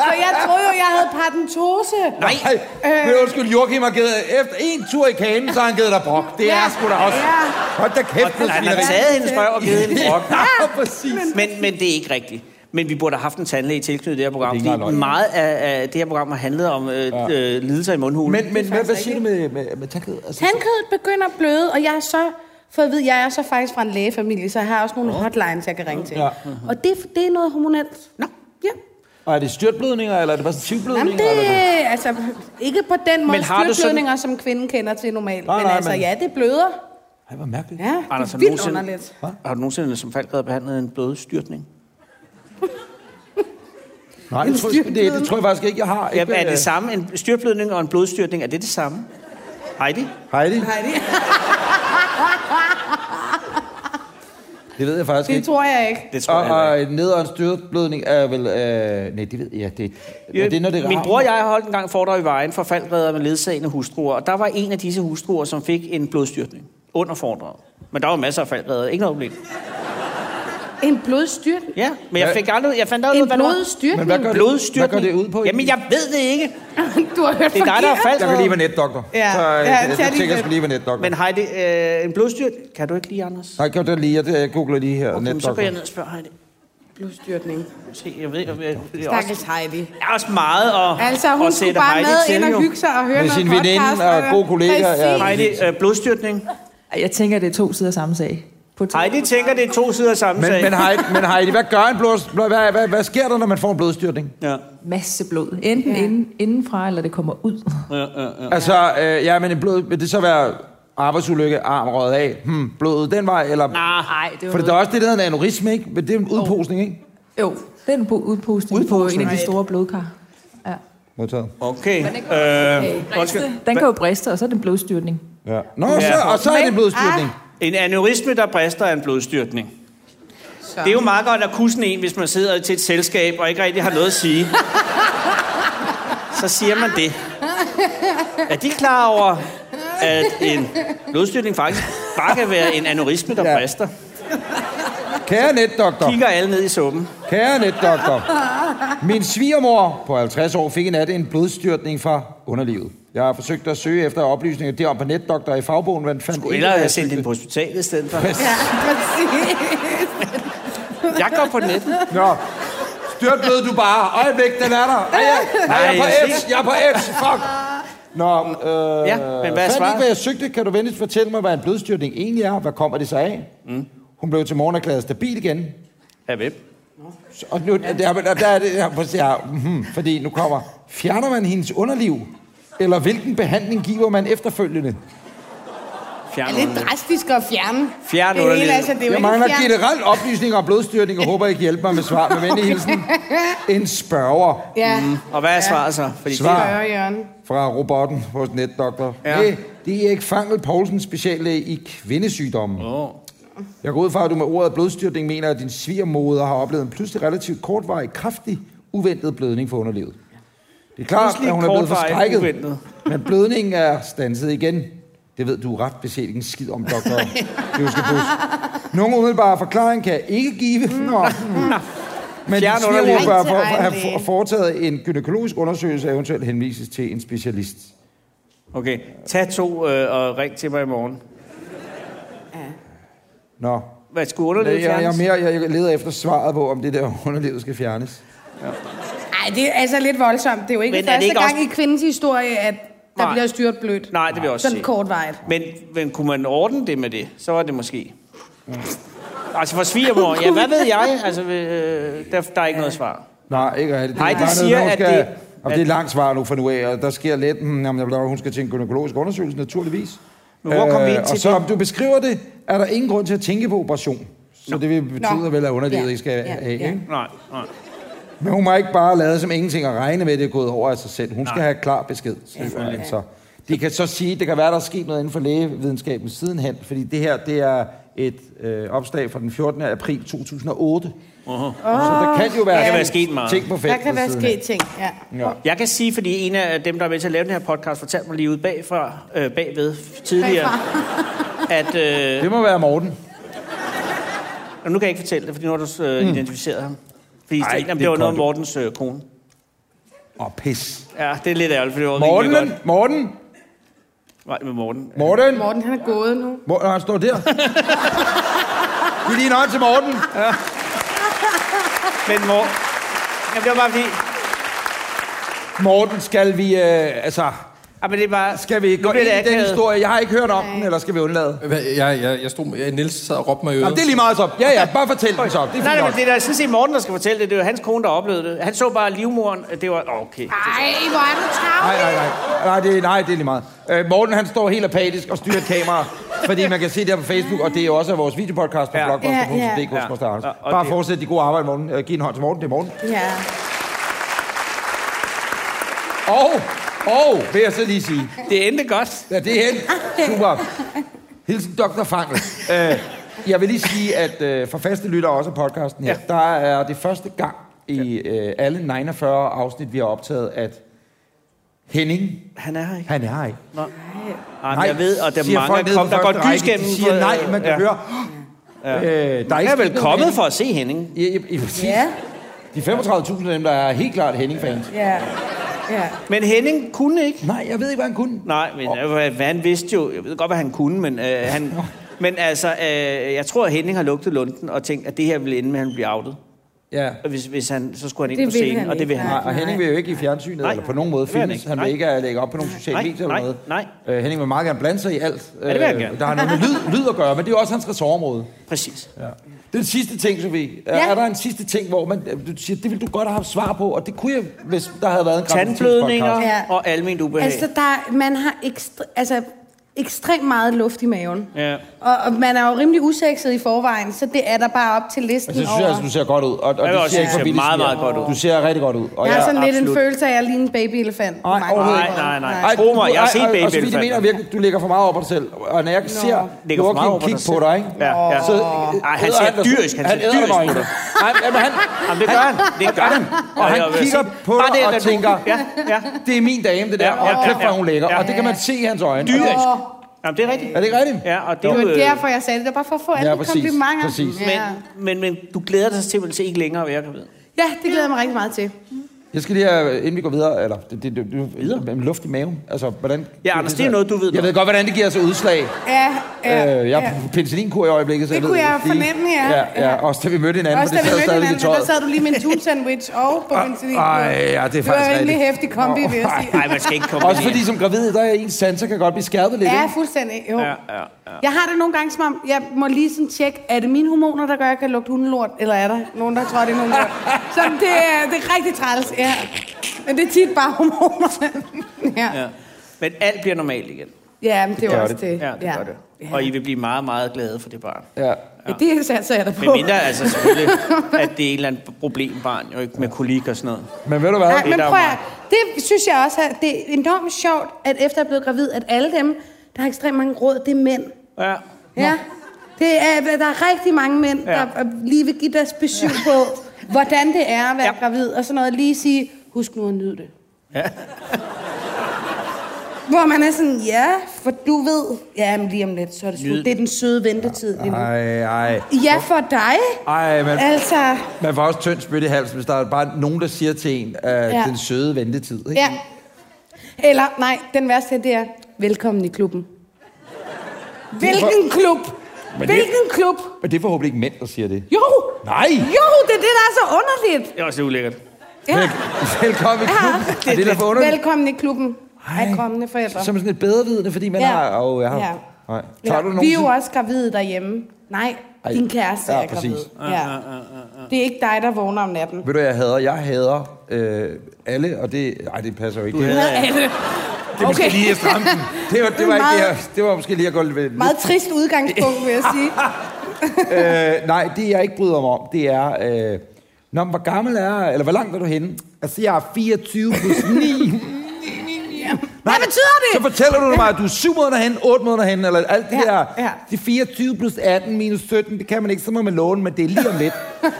S5: Så jeg troede jo, jeg havde paradentose.
S1: Nej.
S2: Nej,
S5: Øh.
S2: men undskyld, Joachim har givet, efter en tur i kanen, så har han givet dig brok. Det er
S5: Ja,
S2: sgu da også.
S5: ja.
S2: Hold da
S1: Og
S2: kæft,
S1: han
S2: det
S1: har
S2: svineri.
S1: taget hendes røv og givet hende brok.
S2: (laughs) Ja, præcis.
S1: Men, men det er ikke rigtigt. Men vi burde have haft en tandlæge tilknyttet det her program,
S2: Det er ikke
S1: fordi
S2: engang løgn.
S1: meget af, af det her program har handlet om øh, ja. øh, lidelser i mundhulen.
S2: Men, men hvad, hvad siger du med, med, med tandkød? Altså,
S5: Tandkødet begynder at bløde, og jeg er så fået at vide, jeg er så faktisk fra en lægefamilie, så jeg har også nogle hotlines, jeg kan ringe til.
S2: Ja.
S5: Og det, det er noget hormonelt. Nå. Ja.
S2: og er det styrtblødninger, eller er det bare sådan
S5: Jamen
S2: sivblødninger?
S5: det,
S2: eller
S5: altså, ikke på den måde
S1: Men har du sådan-
S5: styrtblødninger, som kvinden kender til normalt.
S2: Nej,
S5: men
S2: nej,
S5: altså,
S2: men-
S5: ja, det bløder.
S2: Ej, hvor mærkeligt.
S5: Ja,
S1: Anders,
S5: det
S1: har
S5: er
S1: du
S5: vildt
S1: nogensinde,
S5: underligt.
S1: har du nogensinde som faldgræder behandlet en blødstyrtning?
S2: Nej, det tror, jeg, det, det tror jeg faktisk ikke, jeg har.
S1: Jamen,
S2: ikke,
S1: er det
S2: øh,
S1: samme? En styrblødning og en blodstyrtning, er det det samme? Heidi?
S2: Heidi?
S5: Heidi.
S2: (laughs) Det ved jeg faktisk
S5: Det
S2: ikke.
S5: tror jeg ikke.
S1: Det tror
S2: Og,
S1: jeg heller
S2: og ned- og en styrtblødning er vel... Øh, nej, det ved jeg. Det, ja, det er, når det
S1: Min
S2: rammer.
S1: bror og jeg har holdt en gang foredrag i vejen for faldredder med ledsagende hustruer, og der var en af disse hustruer, som fik en blodstyrtning under foredraget. Men der var masser af faldredder, ikke noget problem.
S5: En blodstyrt.
S1: Ja, men jeg,
S2: Hvad?
S1: fik aldrig, jeg fandt aldrig
S5: En
S1: ud af, hvad det var.
S5: blodstyrt.
S2: Men hvad gør det-
S1: Blodstyrtning.
S2: Hvad går det ud på?
S1: Jamen, jeg ved det ikke.
S5: (laughs) Du har hørt
S1: Det er dig, der har
S5: forkert.
S1: faldet.
S2: Jeg kan lige være netdoktor.
S5: Ja.
S2: Så, øh,
S5: Ja,
S2: jeg,
S5: tag
S2: jeg
S5: lige
S2: tænker, jeg
S5: det.
S2: skal lige være netdoktor.
S1: Men Heidi, øh, en blodstyrt, kan du ikke lide, Anders?
S2: Nej, gør det lige. Jeg, jeg googler lige her.
S1: Jamen, så
S2: netdoktor.
S1: går jeg ned og spørger Heidi.
S5: Blodstyrtning.
S1: Se, jeg ved, jeg, jeg, jeg, jeg,
S5: Stakkels Heidi.
S1: er også meget at,
S5: Altså, hun
S1: at
S5: skulle
S1: sætte
S5: bare
S1: Heidi
S5: med
S1: til,
S5: ind
S1: jo.
S5: og hygge sig og høre
S2: Med
S5: noget
S2: sin
S5: podcast.
S2: veninde og gode kollegaer, ja.
S5: Præcis.
S1: Heidi, øh, blodstyrtning.
S4: Ej, Jeg tænker, det er to sider af samme sag. På et
S1: Heidi tænker, det er to sider af samme
S2: Men,
S1: sag.
S2: men, Heidi, men Heidi, hvad gør en blod... blod- Hvad, hvad, hvad sker der, når man får en blodstyrtning?
S1: Ja,
S4: masse blod. Enten
S5: Ja.
S4: ja. inden, indenfra, eller det kommer ud.
S1: ja, ja, ja.
S2: Altså, øh, ja, men en blod... Vil det så være arbejdsulykke, arm røget af, hmm, blodet den vej, eller...
S4: Nej, det var
S2: For det er også det, der hedder en aneurisme, ikke? Men det er en udposning, ikke?
S4: Jo, det er en bo- udpostning,
S2: Udpostning.
S4: udpostning på en af de store blodkar. Ja.
S2: Modtaget.
S1: Okay.
S4: Øhm,
S1: Øh, undskyld.
S4: Den kan jo briste, og så er det en blodstyrtning.
S2: Ja. Nå, så, og så er det en blodstyrtning.
S1: En aneurisme, der brister, er en blodstyrtning. Det er jo meget godt at kusse en, hvis man sidder til et selskab og ikke rigtig har noget at sige. Så siger man det. Er de klar over, at en blodstyrtning faktisk bare kan være en aneurisme, der
S2: Ja.
S1: brister? Ah.
S2: Kære netdoktor.
S1: Kigger alle ned i suppen.
S2: Kære netdoktor, min svigermor på 50 år fik en nat en blodstyrtning fra underlivet. Jeg har forsøgt at søge efter oplysninger derom på netdoktor i fagbogen, men fandt
S1: Du eller
S2: hvad
S1: have
S2: jeg
S1: sendt
S2: søgte.
S1: den på hospitalet i stedet
S2: (laughs)
S1: for.
S5: Ja, præcis.
S1: Jeg går på nettet.
S2: Nå, styrtblød du bare. Øjeblik, den er der. Ej, jeg, nej, jeg er
S1: Nej,
S2: på
S1: jeg
S2: F's. Jeg er på F's. Fuck. Nå, øh,
S1: Ja, men hvad er
S2: fandt
S1: svaret?
S2: ikke, hvad jeg søgte. Kan du venligst fortælle mig, hvad en blodstyrtning egentlig er? Hvad kommer det sig af? Mm. Hun blev til morgen erklæret stabil igen.
S1: Ja, hvem?
S2: Så- Og nu, der, der, der er det, jeg må sige, ja, mhm, fordi nu kommer, fjerner man hendes underliv? Eller hvilken behandling giver man efterfølgende?
S1: Fjern
S5: Det er lidt
S1: underlivet.
S5: drastisk at fjerne.
S1: Fjern
S5: det hele,
S1: underlivet.
S5: altså, det er jo
S2: Jeg
S5: ikke
S2: mangler
S5: fjern.
S2: generelt oplysninger om blodstyrning, og håber, I kan hjælpe mig med svar med venlig hilsen. En spørger
S5: Ja,
S2: Mm.
S1: Og hvad er svaret så? Fordi det-
S2: Svar.
S5: højre hjørne.
S2: fra robotten hos netdoktor.
S1: Ja.
S2: Ja. Det er Erik Fangel Poulsen, speciallæge i kvindesygdomme.
S1: Åh.
S2: Jeg går ud fra, at du med ordet blodstyrtning mener, at din svigermoder har oplevet en pludselig relativt kortvarig, kraftig, uventet blødning for underlivet. Det er klart,
S1: Pludselig
S2: at hun er blevet
S1: kortvarig,
S2: forskrækket,
S1: uventet.
S2: men blødningen er stanset igen. Det ved du ret beset ikke en skid om, doktor. Pivskebus. Nogen umiddelbare forklaring kan jeg ikke give. Nå. Men
S1: Mm.
S2: din
S1: Fjern
S2: svigermor
S1: underlivet.
S2: bør
S5: Ring til
S2: for,
S5: egen
S2: have
S5: læge.
S2: for- foretaget en gynækologisk undersøgelse og eventuelt henvises til en specialist.
S1: Okay, tag to øh, og ring til mig i morgen.
S2: Nå.
S1: Hvad skulle underlivet
S2: Jeg, jeg, jeg,
S1: fjernes?
S2: er mere, jeg leder efter svaret på, om det der (laughs) underlivet skal fjernes.
S5: Ej, det er altså lidt voldsomt. Det er jo ikke
S1: Men er det
S5: første
S1: ikke
S5: gang
S1: også-
S5: i kvindens historie, at der
S1: Nej.
S5: bliver styrt blødt.
S1: Nej, det vil jeg også
S5: Sådan
S1: sige.
S5: kortvejet.
S1: Men, men kunne man ordne det med det, så var det måske. Altså for svigermor, ja, hvad ved jeg? Altså, øh, der, der er ikke noget svar.
S2: Nej, ikke rigtigt.
S1: Nej,
S2: er
S1: de
S2: bare noget,
S1: siger,
S2: hun
S1: at
S2: skal...
S1: det-
S2: Om det er langt svar nu for nu af, og der sker lidt, hmm, jamen, jeg bliver- hun skal til en gynækologisk undersøgelse, naturligvis. Øh,
S1: Men hvor kom vi ind til
S2: og så,
S1: det?
S2: om du beskriver det, er der ingen grund til at tænke på operation. Så det vil betyde
S5: Nå.
S2: vel, at underlivet
S5: Ja,
S2: ikke skal
S5: ja,
S2: ja. af.
S5: ja.
S2: Ikke?
S1: Nej, nej.
S2: Men hun må ikke bare lade som ingenting og regne med, at det er gået over af sig selv. Hun skal
S1: Nej.
S2: have klar besked. selvfølgelig. Så de kan så sige, det kan være, der er sket noget inden for lægevidenskaben sidenhen, fordi det her, det er et øh, opslag fra den 14. april 2008. Uh-huh. Så der kan jo være,
S1: Der kan være sket meget.
S2: ting på
S5: Der
S2: feltet
S5: kan være
S2: sidenhen.
S5: sket ting, ja.
S2: Ja.
S1: Jeg kan sige, fordi en af dem, der er med til at lave den her podcast, fortalte mig lige ud bagfra, øh, bagved tidligere, at... Øh,
S2: Det må være Morten.
S1: og nu kan jeg ikke fortælle det, fordi nu har du øh, identificeret ham. Fordi
S2: Ej,
S1: Ej, det,
S2: det
S1: det var
S2: er
S1: noget
S2: godt.
S1: om Mortens øh, kone.
S2: Åh, oh, pis.
S1: Ja, det er lidt ærgerligt, for det var
S2: Morten,
S1: rimelig godt.
S2: Morten,
S1: Nej, med Morten.
S2: Morten.
S5: Morten, han er gået nu.
S2: Morten, han står der. Giv lige en hånd til Morten.
S1: Men Morten... Jamen, det var bare fordi...
S2: Morten, skal vi, øh, altså,
S1: Ah, men det er bare...
S2: skal vi
S1: Nu
S2: gå
S1: bliver
S2: ind
S1: det
S2: i den
S1: akavet.
S2: historie? Jeg har ikke hørt om den, eller skal vi undlade?
S7: Hvad, jeg, jeg, jeg stod, jeg, Niels sad og råbte mig i øret.
S2: Jamen, det er lige meget så. Ja, ja, bare fortæl den så. Det er
S1: Nej,
S2: fint
S1: nej,
S2: nok.
S1: men det er da sådan set Morten, der skal fortælle det. Det var hans kone, der oplevede det. Han så bare livmoren. Det var... Åh, Okay.
S5: Ej, hvor er du
S2: Nej,
S5: travlt.
S2: nej, nej. Nej, det, er- nej, det er lige meget. Øh, Morten, han står helt apatisk og styrer et kamera, fordi man kan se det her på Facebook, og det er også af vores videopodcast på
S1: Ja.
S2: blogposter.dk.
S5: Ja,
S1: Ja,
S5: ja.
S1: og
S2: Bare
S1: det-
S2: fortsæt de gode arbejde, Morten. Øh, Giv en hånd til Morten. Det er Morten.
S5: Ja.
S2: Og, og, vil jeg så lige sige.
S1: Det endte godt.
S2: Ja, det er hen. Super. Hilsen Dr. Fangel. Øh, jeg vil lige sige, at øh, for faste lyttere også af podcasten her, ja. der er det første gang i øh, alle 49 afsnit, vi har optaget, at Henning,
S1: Han er her ikke.
S2: han er her ikke.
S1: Ej, men jeg ved, og der
S2: siger
S1: er
S2: folk
S1: mange,
S2: nede
S1: kom,
S2: på
S1: der går
S2: første
S1: dys
S2: række.
S1: gennem.
S2: De siger nej, man kan ja. høre. Ja. Øh, der er,
S1: Jeg
S2: ikke
S1: er vel kommet for at se Henning.
S2: I, i, i, præcis.
S5: Ja,
S2: De 35.000 af dem, der er helt klart Henning-fans.
S5: ja, ja.
S1: Men Henning kunne ikke.
S2: Nej, jeg ved ikke, hvad han kunne.
S1: Nej, men oh. hvad han vidste jo, jeg ved godt, hvad han kunne, men øh, han... Men altså, øh, jeg tror, at Henning har lugtet lunden og tænkt, at det her ville ende med, at han bliver outet.
S2: Ja.
S1: Og hvis, hvis han, så skulle han ind
S5: Det
S1: på
S5: vil
S1: scenen,
S5: han
S1: og det
S5: ikke,
S1: vil han
S2: Nej,
S1: ikke.
S2: og Henning vil jo ikke i fjernsynet, nej,
S1: Nej.
S2: eller på nogen måde
S1: Det vil han
S2: filmes.
S1: ikke.
S2: Han vil
S1: Nej.
S2: ikke øh, lægge op på nogen sociale
S1: Nej,
S2: medier eller
S1: nej,
S2: noget.
S1: nej.
S2: Øh, Henning vil meget gerne blande sig i alt. Ja,
S1: det vil han gerne.
S2: Der har noget med lyd, lyd at gøre, men det er jo også hans ressortområde.
S1: Præcis.
S2: Ja. Den sidste ting, Sofie. Ja. Er der en sidste ting, hvor man, du siger, det ville du godt have haft svar på, og det kunne jeg, hvis der havde været en
S1: Tandblødninger
S2: graviditetspodcast.
S5: Ja.
S1: og almindeligt ubehag.
S5: Altså, der, man har ekstre, altså, ekstremt meget luft i maven.
S1: Ja.
S5: Og, og man er jo rimelig usekset i forvejen, så det er der bare op til listen
S2: Altså, jeg synes
S5: over.
S2: jeg, altså, du ser godt ud. Og, og det
S1: vil
S2: siger
S1: også
S2: jeg ikke
S1: sige, du
S2: for
S1: ser
S2: billigt,
S1: meget,
S2: siger.
S1: meget godt ud.
S2: Du ser rigtig godt ud. Og
S5: jeg har sådan
S1: Ja,
S5: lidt en
S1: absolut.
S5: følelse af, at jeg ligner en babyelefant. på
S2: Nej,
S5: mange
S2: overhovedet
S5: måder.
S1: ikke. Nej, nej, nej.
S2: Ej,
S1: Tro mig,
S2: du-
S1: jeg har set
S2: ej, ej,
S1: Baby
S2: Og så vidt, jeg
S1: Elephant.
S2: mener virkelig, du ligger for meget op på dig selv. Og når jeg ser
S1: Ligger for meget over
S2: Joachim
S1: på
S2: kigge
S1: dig
S2: på
S1: selv.
S2: dig, ikke?
S1: Ja, ja.
S2: Så,
S1: Ej, han
S2: æder
S1: ser
S2: dig-
S1: dyrisk, han ser
S2: æder
S1: dyrisk
S2: dig
S1: på
S2: øjnene.
S1: dig.
S2: Ej, men han,
S1: Jamen, det gør han. Det gør han.
S2: Og han
S1: jeg vil
S2: kigger
S1: sige,
S2: på
S1: bare
S2: dig og
S1: at du-
S2: tænker-
S1: Ja, ja.
S2: det er min dame, det der.
S1: Ja, ja,
S2: Og
S1: ja,
S2: kæft, hvor
S1: ja.
S2: hun lækker.
S1: Ja.
S2: Og det kan man se i hans øjne.
S1: Dyrisk. Jamen, det er rigtigt.
S2: Er det ikke rigtigt?
S1: Ja, og det,
S5: Det
S1: er jo,
S5: var
S1: øh,
S5: derfor, jeg sagde det. Det var bare for at få alle
S2: Ja,
S5: ja,
S2: præcis,
S5: komplimenter.
S2: præcis.
S5: Ja.
S1: men, men, men du glæder dig simpelthen til ikke længere at være gravid.
S5: ja, det glæder jeg mig rigtig meget til.
S2: Jeg skal lige, have- inden vi går videre, eller det, det, det, det, videre? Med luft i maven. Altså, hvordan...
S1: Ja, Anders, det er noget, du ved
S2: Jeg ved
S1: noget.
S2: godt, hvordan det giver sig udslag.
S5: Ja, ja,
S2: Øh, jeg er på penicillinkur i øjeblikket, så
S5: Det
S2: jeg ved
S5: kunne jeg
S2: lige-
S5: fornemme, ja.
S2: ja. Ja, også da vi mødte hinanden,
S5: Også da
S2: for det
S5: vi
S2: sad
S5: mødte
S2: stadig
S5: hinanden,
S2: i
S5: men der
S2: tøjet.
S5: sad du lige med en tun sandwich og på benzin.
S2: Ej, ja, det er
S5: Det var
S2: faktisk
S5: en rimelig
S2: rigtigt.
S5: hæftig kombi, vil jeg sige.
S1: Nej, man skal ikke komme
S2: Også fordi som gravid, der er ens sanser kan godt blive skærpet lidt,
S5: Ja,
S2: ikke?
S5: fuldstændig. Jo.
S1: Ja, ja, ja.
S5: Jeg har det nogle gange som om, jeg må lige sådan tjekke, er det mine hormoner, der gør, at jeg kan lugte hundelort, eller er der nogen, der tror, det er hundelort?
S1: (laughs)
S5: Så det, er- det er rigtig træls, ja. Men det er tit bare hormoner. (laughs) ja. ja.
S1: Ja. Men alt bliver normalt igen.
S5: ja men det er
S2: gør
S5: jo også
S2: det.
S5: det.
S1: Ja, det ja. gør det. Og I vil blive meget, meget glade for det barn.
S2: Ja.
S5: Ja, det satser jeg da på.
S1: Men mindre altså selvfølgelig, at det er et eller andet problem, barn, jo ikke med kolik og sådan noget.
S2: Men ved du hvad?
S5: Nej,
S1: det
S5: men
S1: er der
S5: prøv
S1: jo
S5: at, det synes jeg også, at det er enormt sjovt, at efter jeg er blevet gravid, at alle dem, der har ekstremt mange råd, det er mænd.
S1: Ja.
S5: Ja. Det er, der er rigtig mange mænd, ja.
S1: Ja.
S5: der øh, lige vil give deres besøg ja. på, hvordan det er at være ja.
S1: Ja.
S5: gravid, og sådan noget. Lige sige, husk nu at nyde det. Ja. Hvor man er sådan, ja, for du ved, ja, men lige om lidt, så er det slut.
S1: Nyd.
S5: Det er den søde ventetid lige nu.
S2: Ej, ej.
S5: Ja, for dig.
S2: Ej, man,
S5: Altså,
S2: man får også tynd spyt i halsen, hvis der er bare nogen, der siger til en, øh, ja. den søde ventetid, ikke?
S5: ja. Eller, nej, den værste, det er, velkommen i klubben. Hvilken klub?
S2: Men det-
S5: Hvilken klub?
S2: Men det er forhåbentlig ikke mænd, der siger det.
S5: Jo!
S2: Nej!
S5: Jo, det er det, der er så underligt.
S1: Det er også lidt ulækkert.
S5: Ja.
S2: Vel- (laughs) Velkommen i klubben. Ja. Er (laughs) det, der for underligt?
S5: Ah. Velkommen i klubben af kommende forældre.
S2: Som sådan et bedrevidende, fordi man
S5: Ja.
S2: har... Åh, jeg har...
S5: Ja.
S2: Nej. Tager du
S5: Vi er jo
S2: nogensinde...
S5: også gravide derhjemme. Nej,
S2: Ej.
S5: din kæreste
S2: Ja,
S5: er gravid.
S2: præcis.
S5: Ja. Det er ikke dig, der vågner om natten.
S2: Ved du, jeg hader? Jeg hader øh, alle, og det... Nej, det passer jo ikke. Det,
S5: Ja, ja.
S2: det er måske
S5: okay.
S2: lige at stramme den. (laughs) Det var, det var, ikke, det,
S5: Meget-
S2: jeg, det var måske lige at gå lidt... lidt
S5: Meget trist
S2: (laughs)
S5: udgangspunkt, vil jeg sige.
S2: øh, nej, det jeg ikke bryder mig om, det er... Øh, Nå, men hvor gammel er jeg? Eller hvor langt er du henne? Altså, jeg er 24 plus
S5: (laughs)
S2: 9.
S5: Hvad betyder det?
S2: Så fortæller du mig, at du er 7 måneder hen, 8 måneder hen, eller alt det
S5: Ja,
S2: der.
S5: ja.
S2: Det er 24 plus 18 minus 17, det kan man ikke, så må man låne, men det er lige om lidt.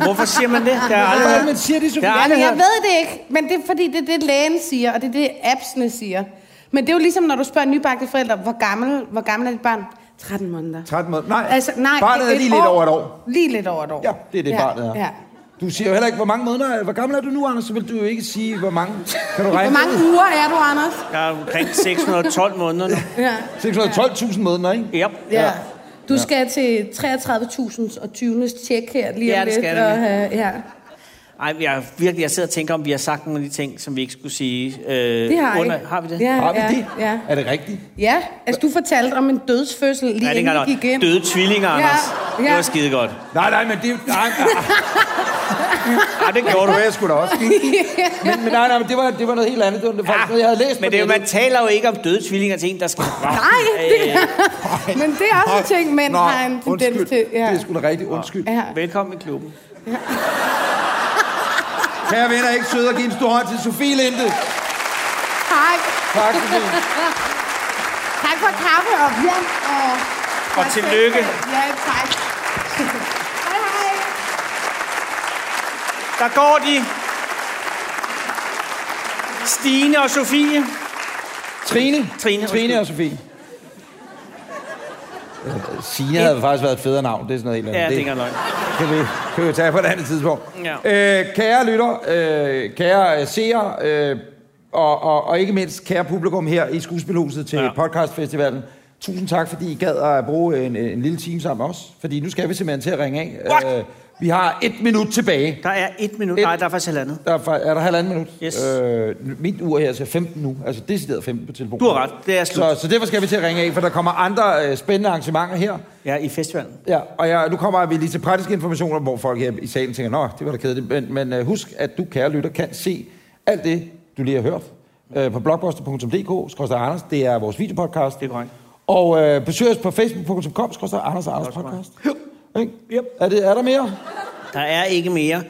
S1: Hvorfor siger man det? Der er
S2: Hvorfor er det,
S1: aldrig...
S2: man siger det, Sofie?
S1: Ja,
S5: Jamen,
S1: aldrig
S5: jeg
S1: hørt.
S5: ved det ikke, men det er fordi, det er det, lægen siger, og det er det, appsene siger. Men det er jo ligesom, når du spørger nybagte forældre, hvor gammel, hvor gammel er dit barn? 13 måneder.
S2: 13 måneder. Nej,
S5: Altså, nej,
S2: barnet
S5: et-
S2: er
S5: et
S2: lige lidt over et år.
S5: Lige lidt over et år.
S2: Ja, det er det,
S5: ja,
S2: barnet er.
S5: Ja.
S2: Du siger jo heller ikke, hvor mange måneder... Hvor gammel er du nu, Anders? Så vil du jo ikke sige, hvor mange... Kan du regne
S5: Hvor mange
S2: ud?
S5: uger er du, Anders?
S1: Jeg er omkring 612 måneder nu.
S5: Ja.
S2: 612.000 måneder, ikke?
S1: Ja.
S5: ja. Du skal til 33.000 og 20. tjek her lige om
S1: Ja, det skal
S5: lidt.
S1: jeg
S5: og,
S1: nemlig.
S5: øh, ja.
S1: Ej, jeg, virkelig, jeg sidder og tænker, om vi har sagt nogle af de ting, som vi ikke skulle sige. Øh,
S5: Det har jeg.
S1: under,
S5: ikke.
S1: Har vi det?
S5: Ja,
S2: Har vi
S5: ja,
S2: det?
S5: Ja.
S2: Er det rigtigt?
S5: ja, altså du fortalte om en dødsfødsel lige
S1: Nej, det
S5: inden
S1: er
S5: vi
S1: ikke
S5: gik ind.
S1: godt. Døde tvillinger, Anders.
S5: ja.
S1: Det var skide godt.
S2: Nej, nej, men det... Nej, nej,
S1: Ja, det gjorde
S2: det
S1: du.
S2: var jeg sgu da også. Men, men nej, nej, men det var, det var noget helt andet. Det var faktisk noget, jeg havde læst på
S1: Men det er jo, man
S2: nettet.
S1: taler jo ikke om døde tvillinger til en, der skal...
S5: Nej, det, men det er også en ting, mænd
S2: Nå,
S5: har en
S2: undskyld.
S5: tendens til.
S2: Det er sgu da rigtigt. Undskyld.
S5: ja.
S1: øh, Velkommen i klubben.
S2: Kære venner, ikke søde at give en stor hånd til Sofie Linde. Tak, Sofie.
S5: Tak for kaffe og hjem. Og,
S1: Og tillykke.
S5: Ja, tak. (laughs) hej, hej.
S1: Der går de. Stine og Sofie.
S2: Trine.
S1: Trine, undskyld.
S2: Trine og Sofie. Sine havde faktisk været et federe navn. Det er sådan noget helt andet.
S1: Ja, det er ikke engang løgn.
S2: kan vi, kan vi tage på et andet tidspunkt.
S1: Ja.
S2: Øh, kære lytter, øh, kære øh, seere, øh, og, og, og ikke mindst kære publikum her i Skuespilhuset til
S1: Ja.
S2: ja. podcastfestivalen. Tusind tak, fordi I gad at bruge en, en lille time sammen med os. Fordi nu skal vi simpelthen til at ringe af. Øh,
S1: What?
S2: vi har et minut tilbage.
S1: Der er et minut.
S2: Et-
S1: Nej, der er faktisk halvandet.
S2: Der er, fa- er der halvandet minut?
S1: Yes.
S2: Øh, mit ur her siger 15 nu. Altså decideret 15 på telefonen.
S1: Du har ret. Det er slut.
S2: Så, så derfor skal vi til at ringe af, for der kommer andre øh, spændende arrangementer her.
S1: Ja, i festivalen.
S2: Ja, og jeg, nu kommer vi lige til praktiske informationer, hvor folk her i salen tænker, nå, det var da kedeligt. Men, men øh, husk, at du, kære lytter, kan se alt det, du lige har hørt øh, på blogposter.dk, skorstad Anders. Det er vores videopodcast.
S1: Det er korrekt.
S2: Og øh, besøg os på facebook.com, skorstad Anders og Anders podcast. Ikke? Er, det, er der mere?
S1: Der er ikke mere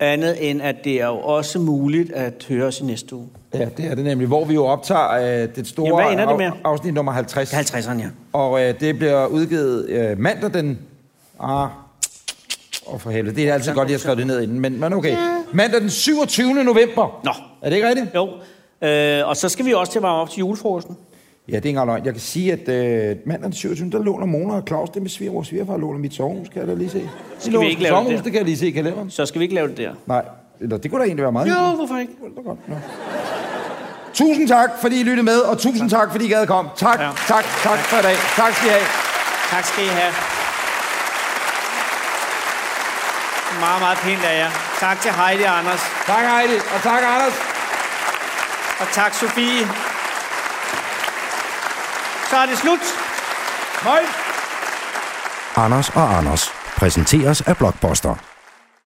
S1: andet end, at det er jo også muligt at høre os i næste uge.
S2: Ja, det er det nemlig, hvor vi jo optager øh, det store
S1: Jamen, hvad ender det med?
S2: af- afsnit nummer 50.
S1: Det er 50'erne, ja.
S2: Og øh, det bliver udgivet øh, mandag den... Ah, oh, for helvede. Det er altid godt, at jeg skrev det ned inden, men, men okay. Mandag den 27. november.
S1: Nå.
S2: Er det ikke rigtigt?
S1: Jo. Øh, og så skal vi også til at varme op til julefrokosten.
S2: Ja, det er ikke engang løgn. Jeg kan sige, at øh, mandag den 27. der låner Mona og Claus. Det er med svigermor og svigerfar låner mit sovehus, kan jeg da lige se.
S1: Skal
S2: låner
S1: vi ikke lave det
S2: sommerhus,
S1: der?
S2: det kan jeg lige se i kalenderen.
S1: Så skal vi ikke lave det der.
S2: Nej, eller det kunne da egentlig være meget.
S1: Jo, hvorfor ikke?
S2: Det var godt. Nå. Tusind tak, fordi I lyttede med, og tusind tak, fordi I gad komme. Tak,
S1: Ja.
S2: ja. tak, tak for i dag. Tak skal I have.
S1: Tak skal I have. Meget, meget pænt af jer. Tak til Heidi og Anders.
S2: Tak Heidi, og tak Anders.
S1: Og tak, Sofie. Så er det slut.
S2: Hej.
S3: Anders og Anders præsenteres af Blockbuster.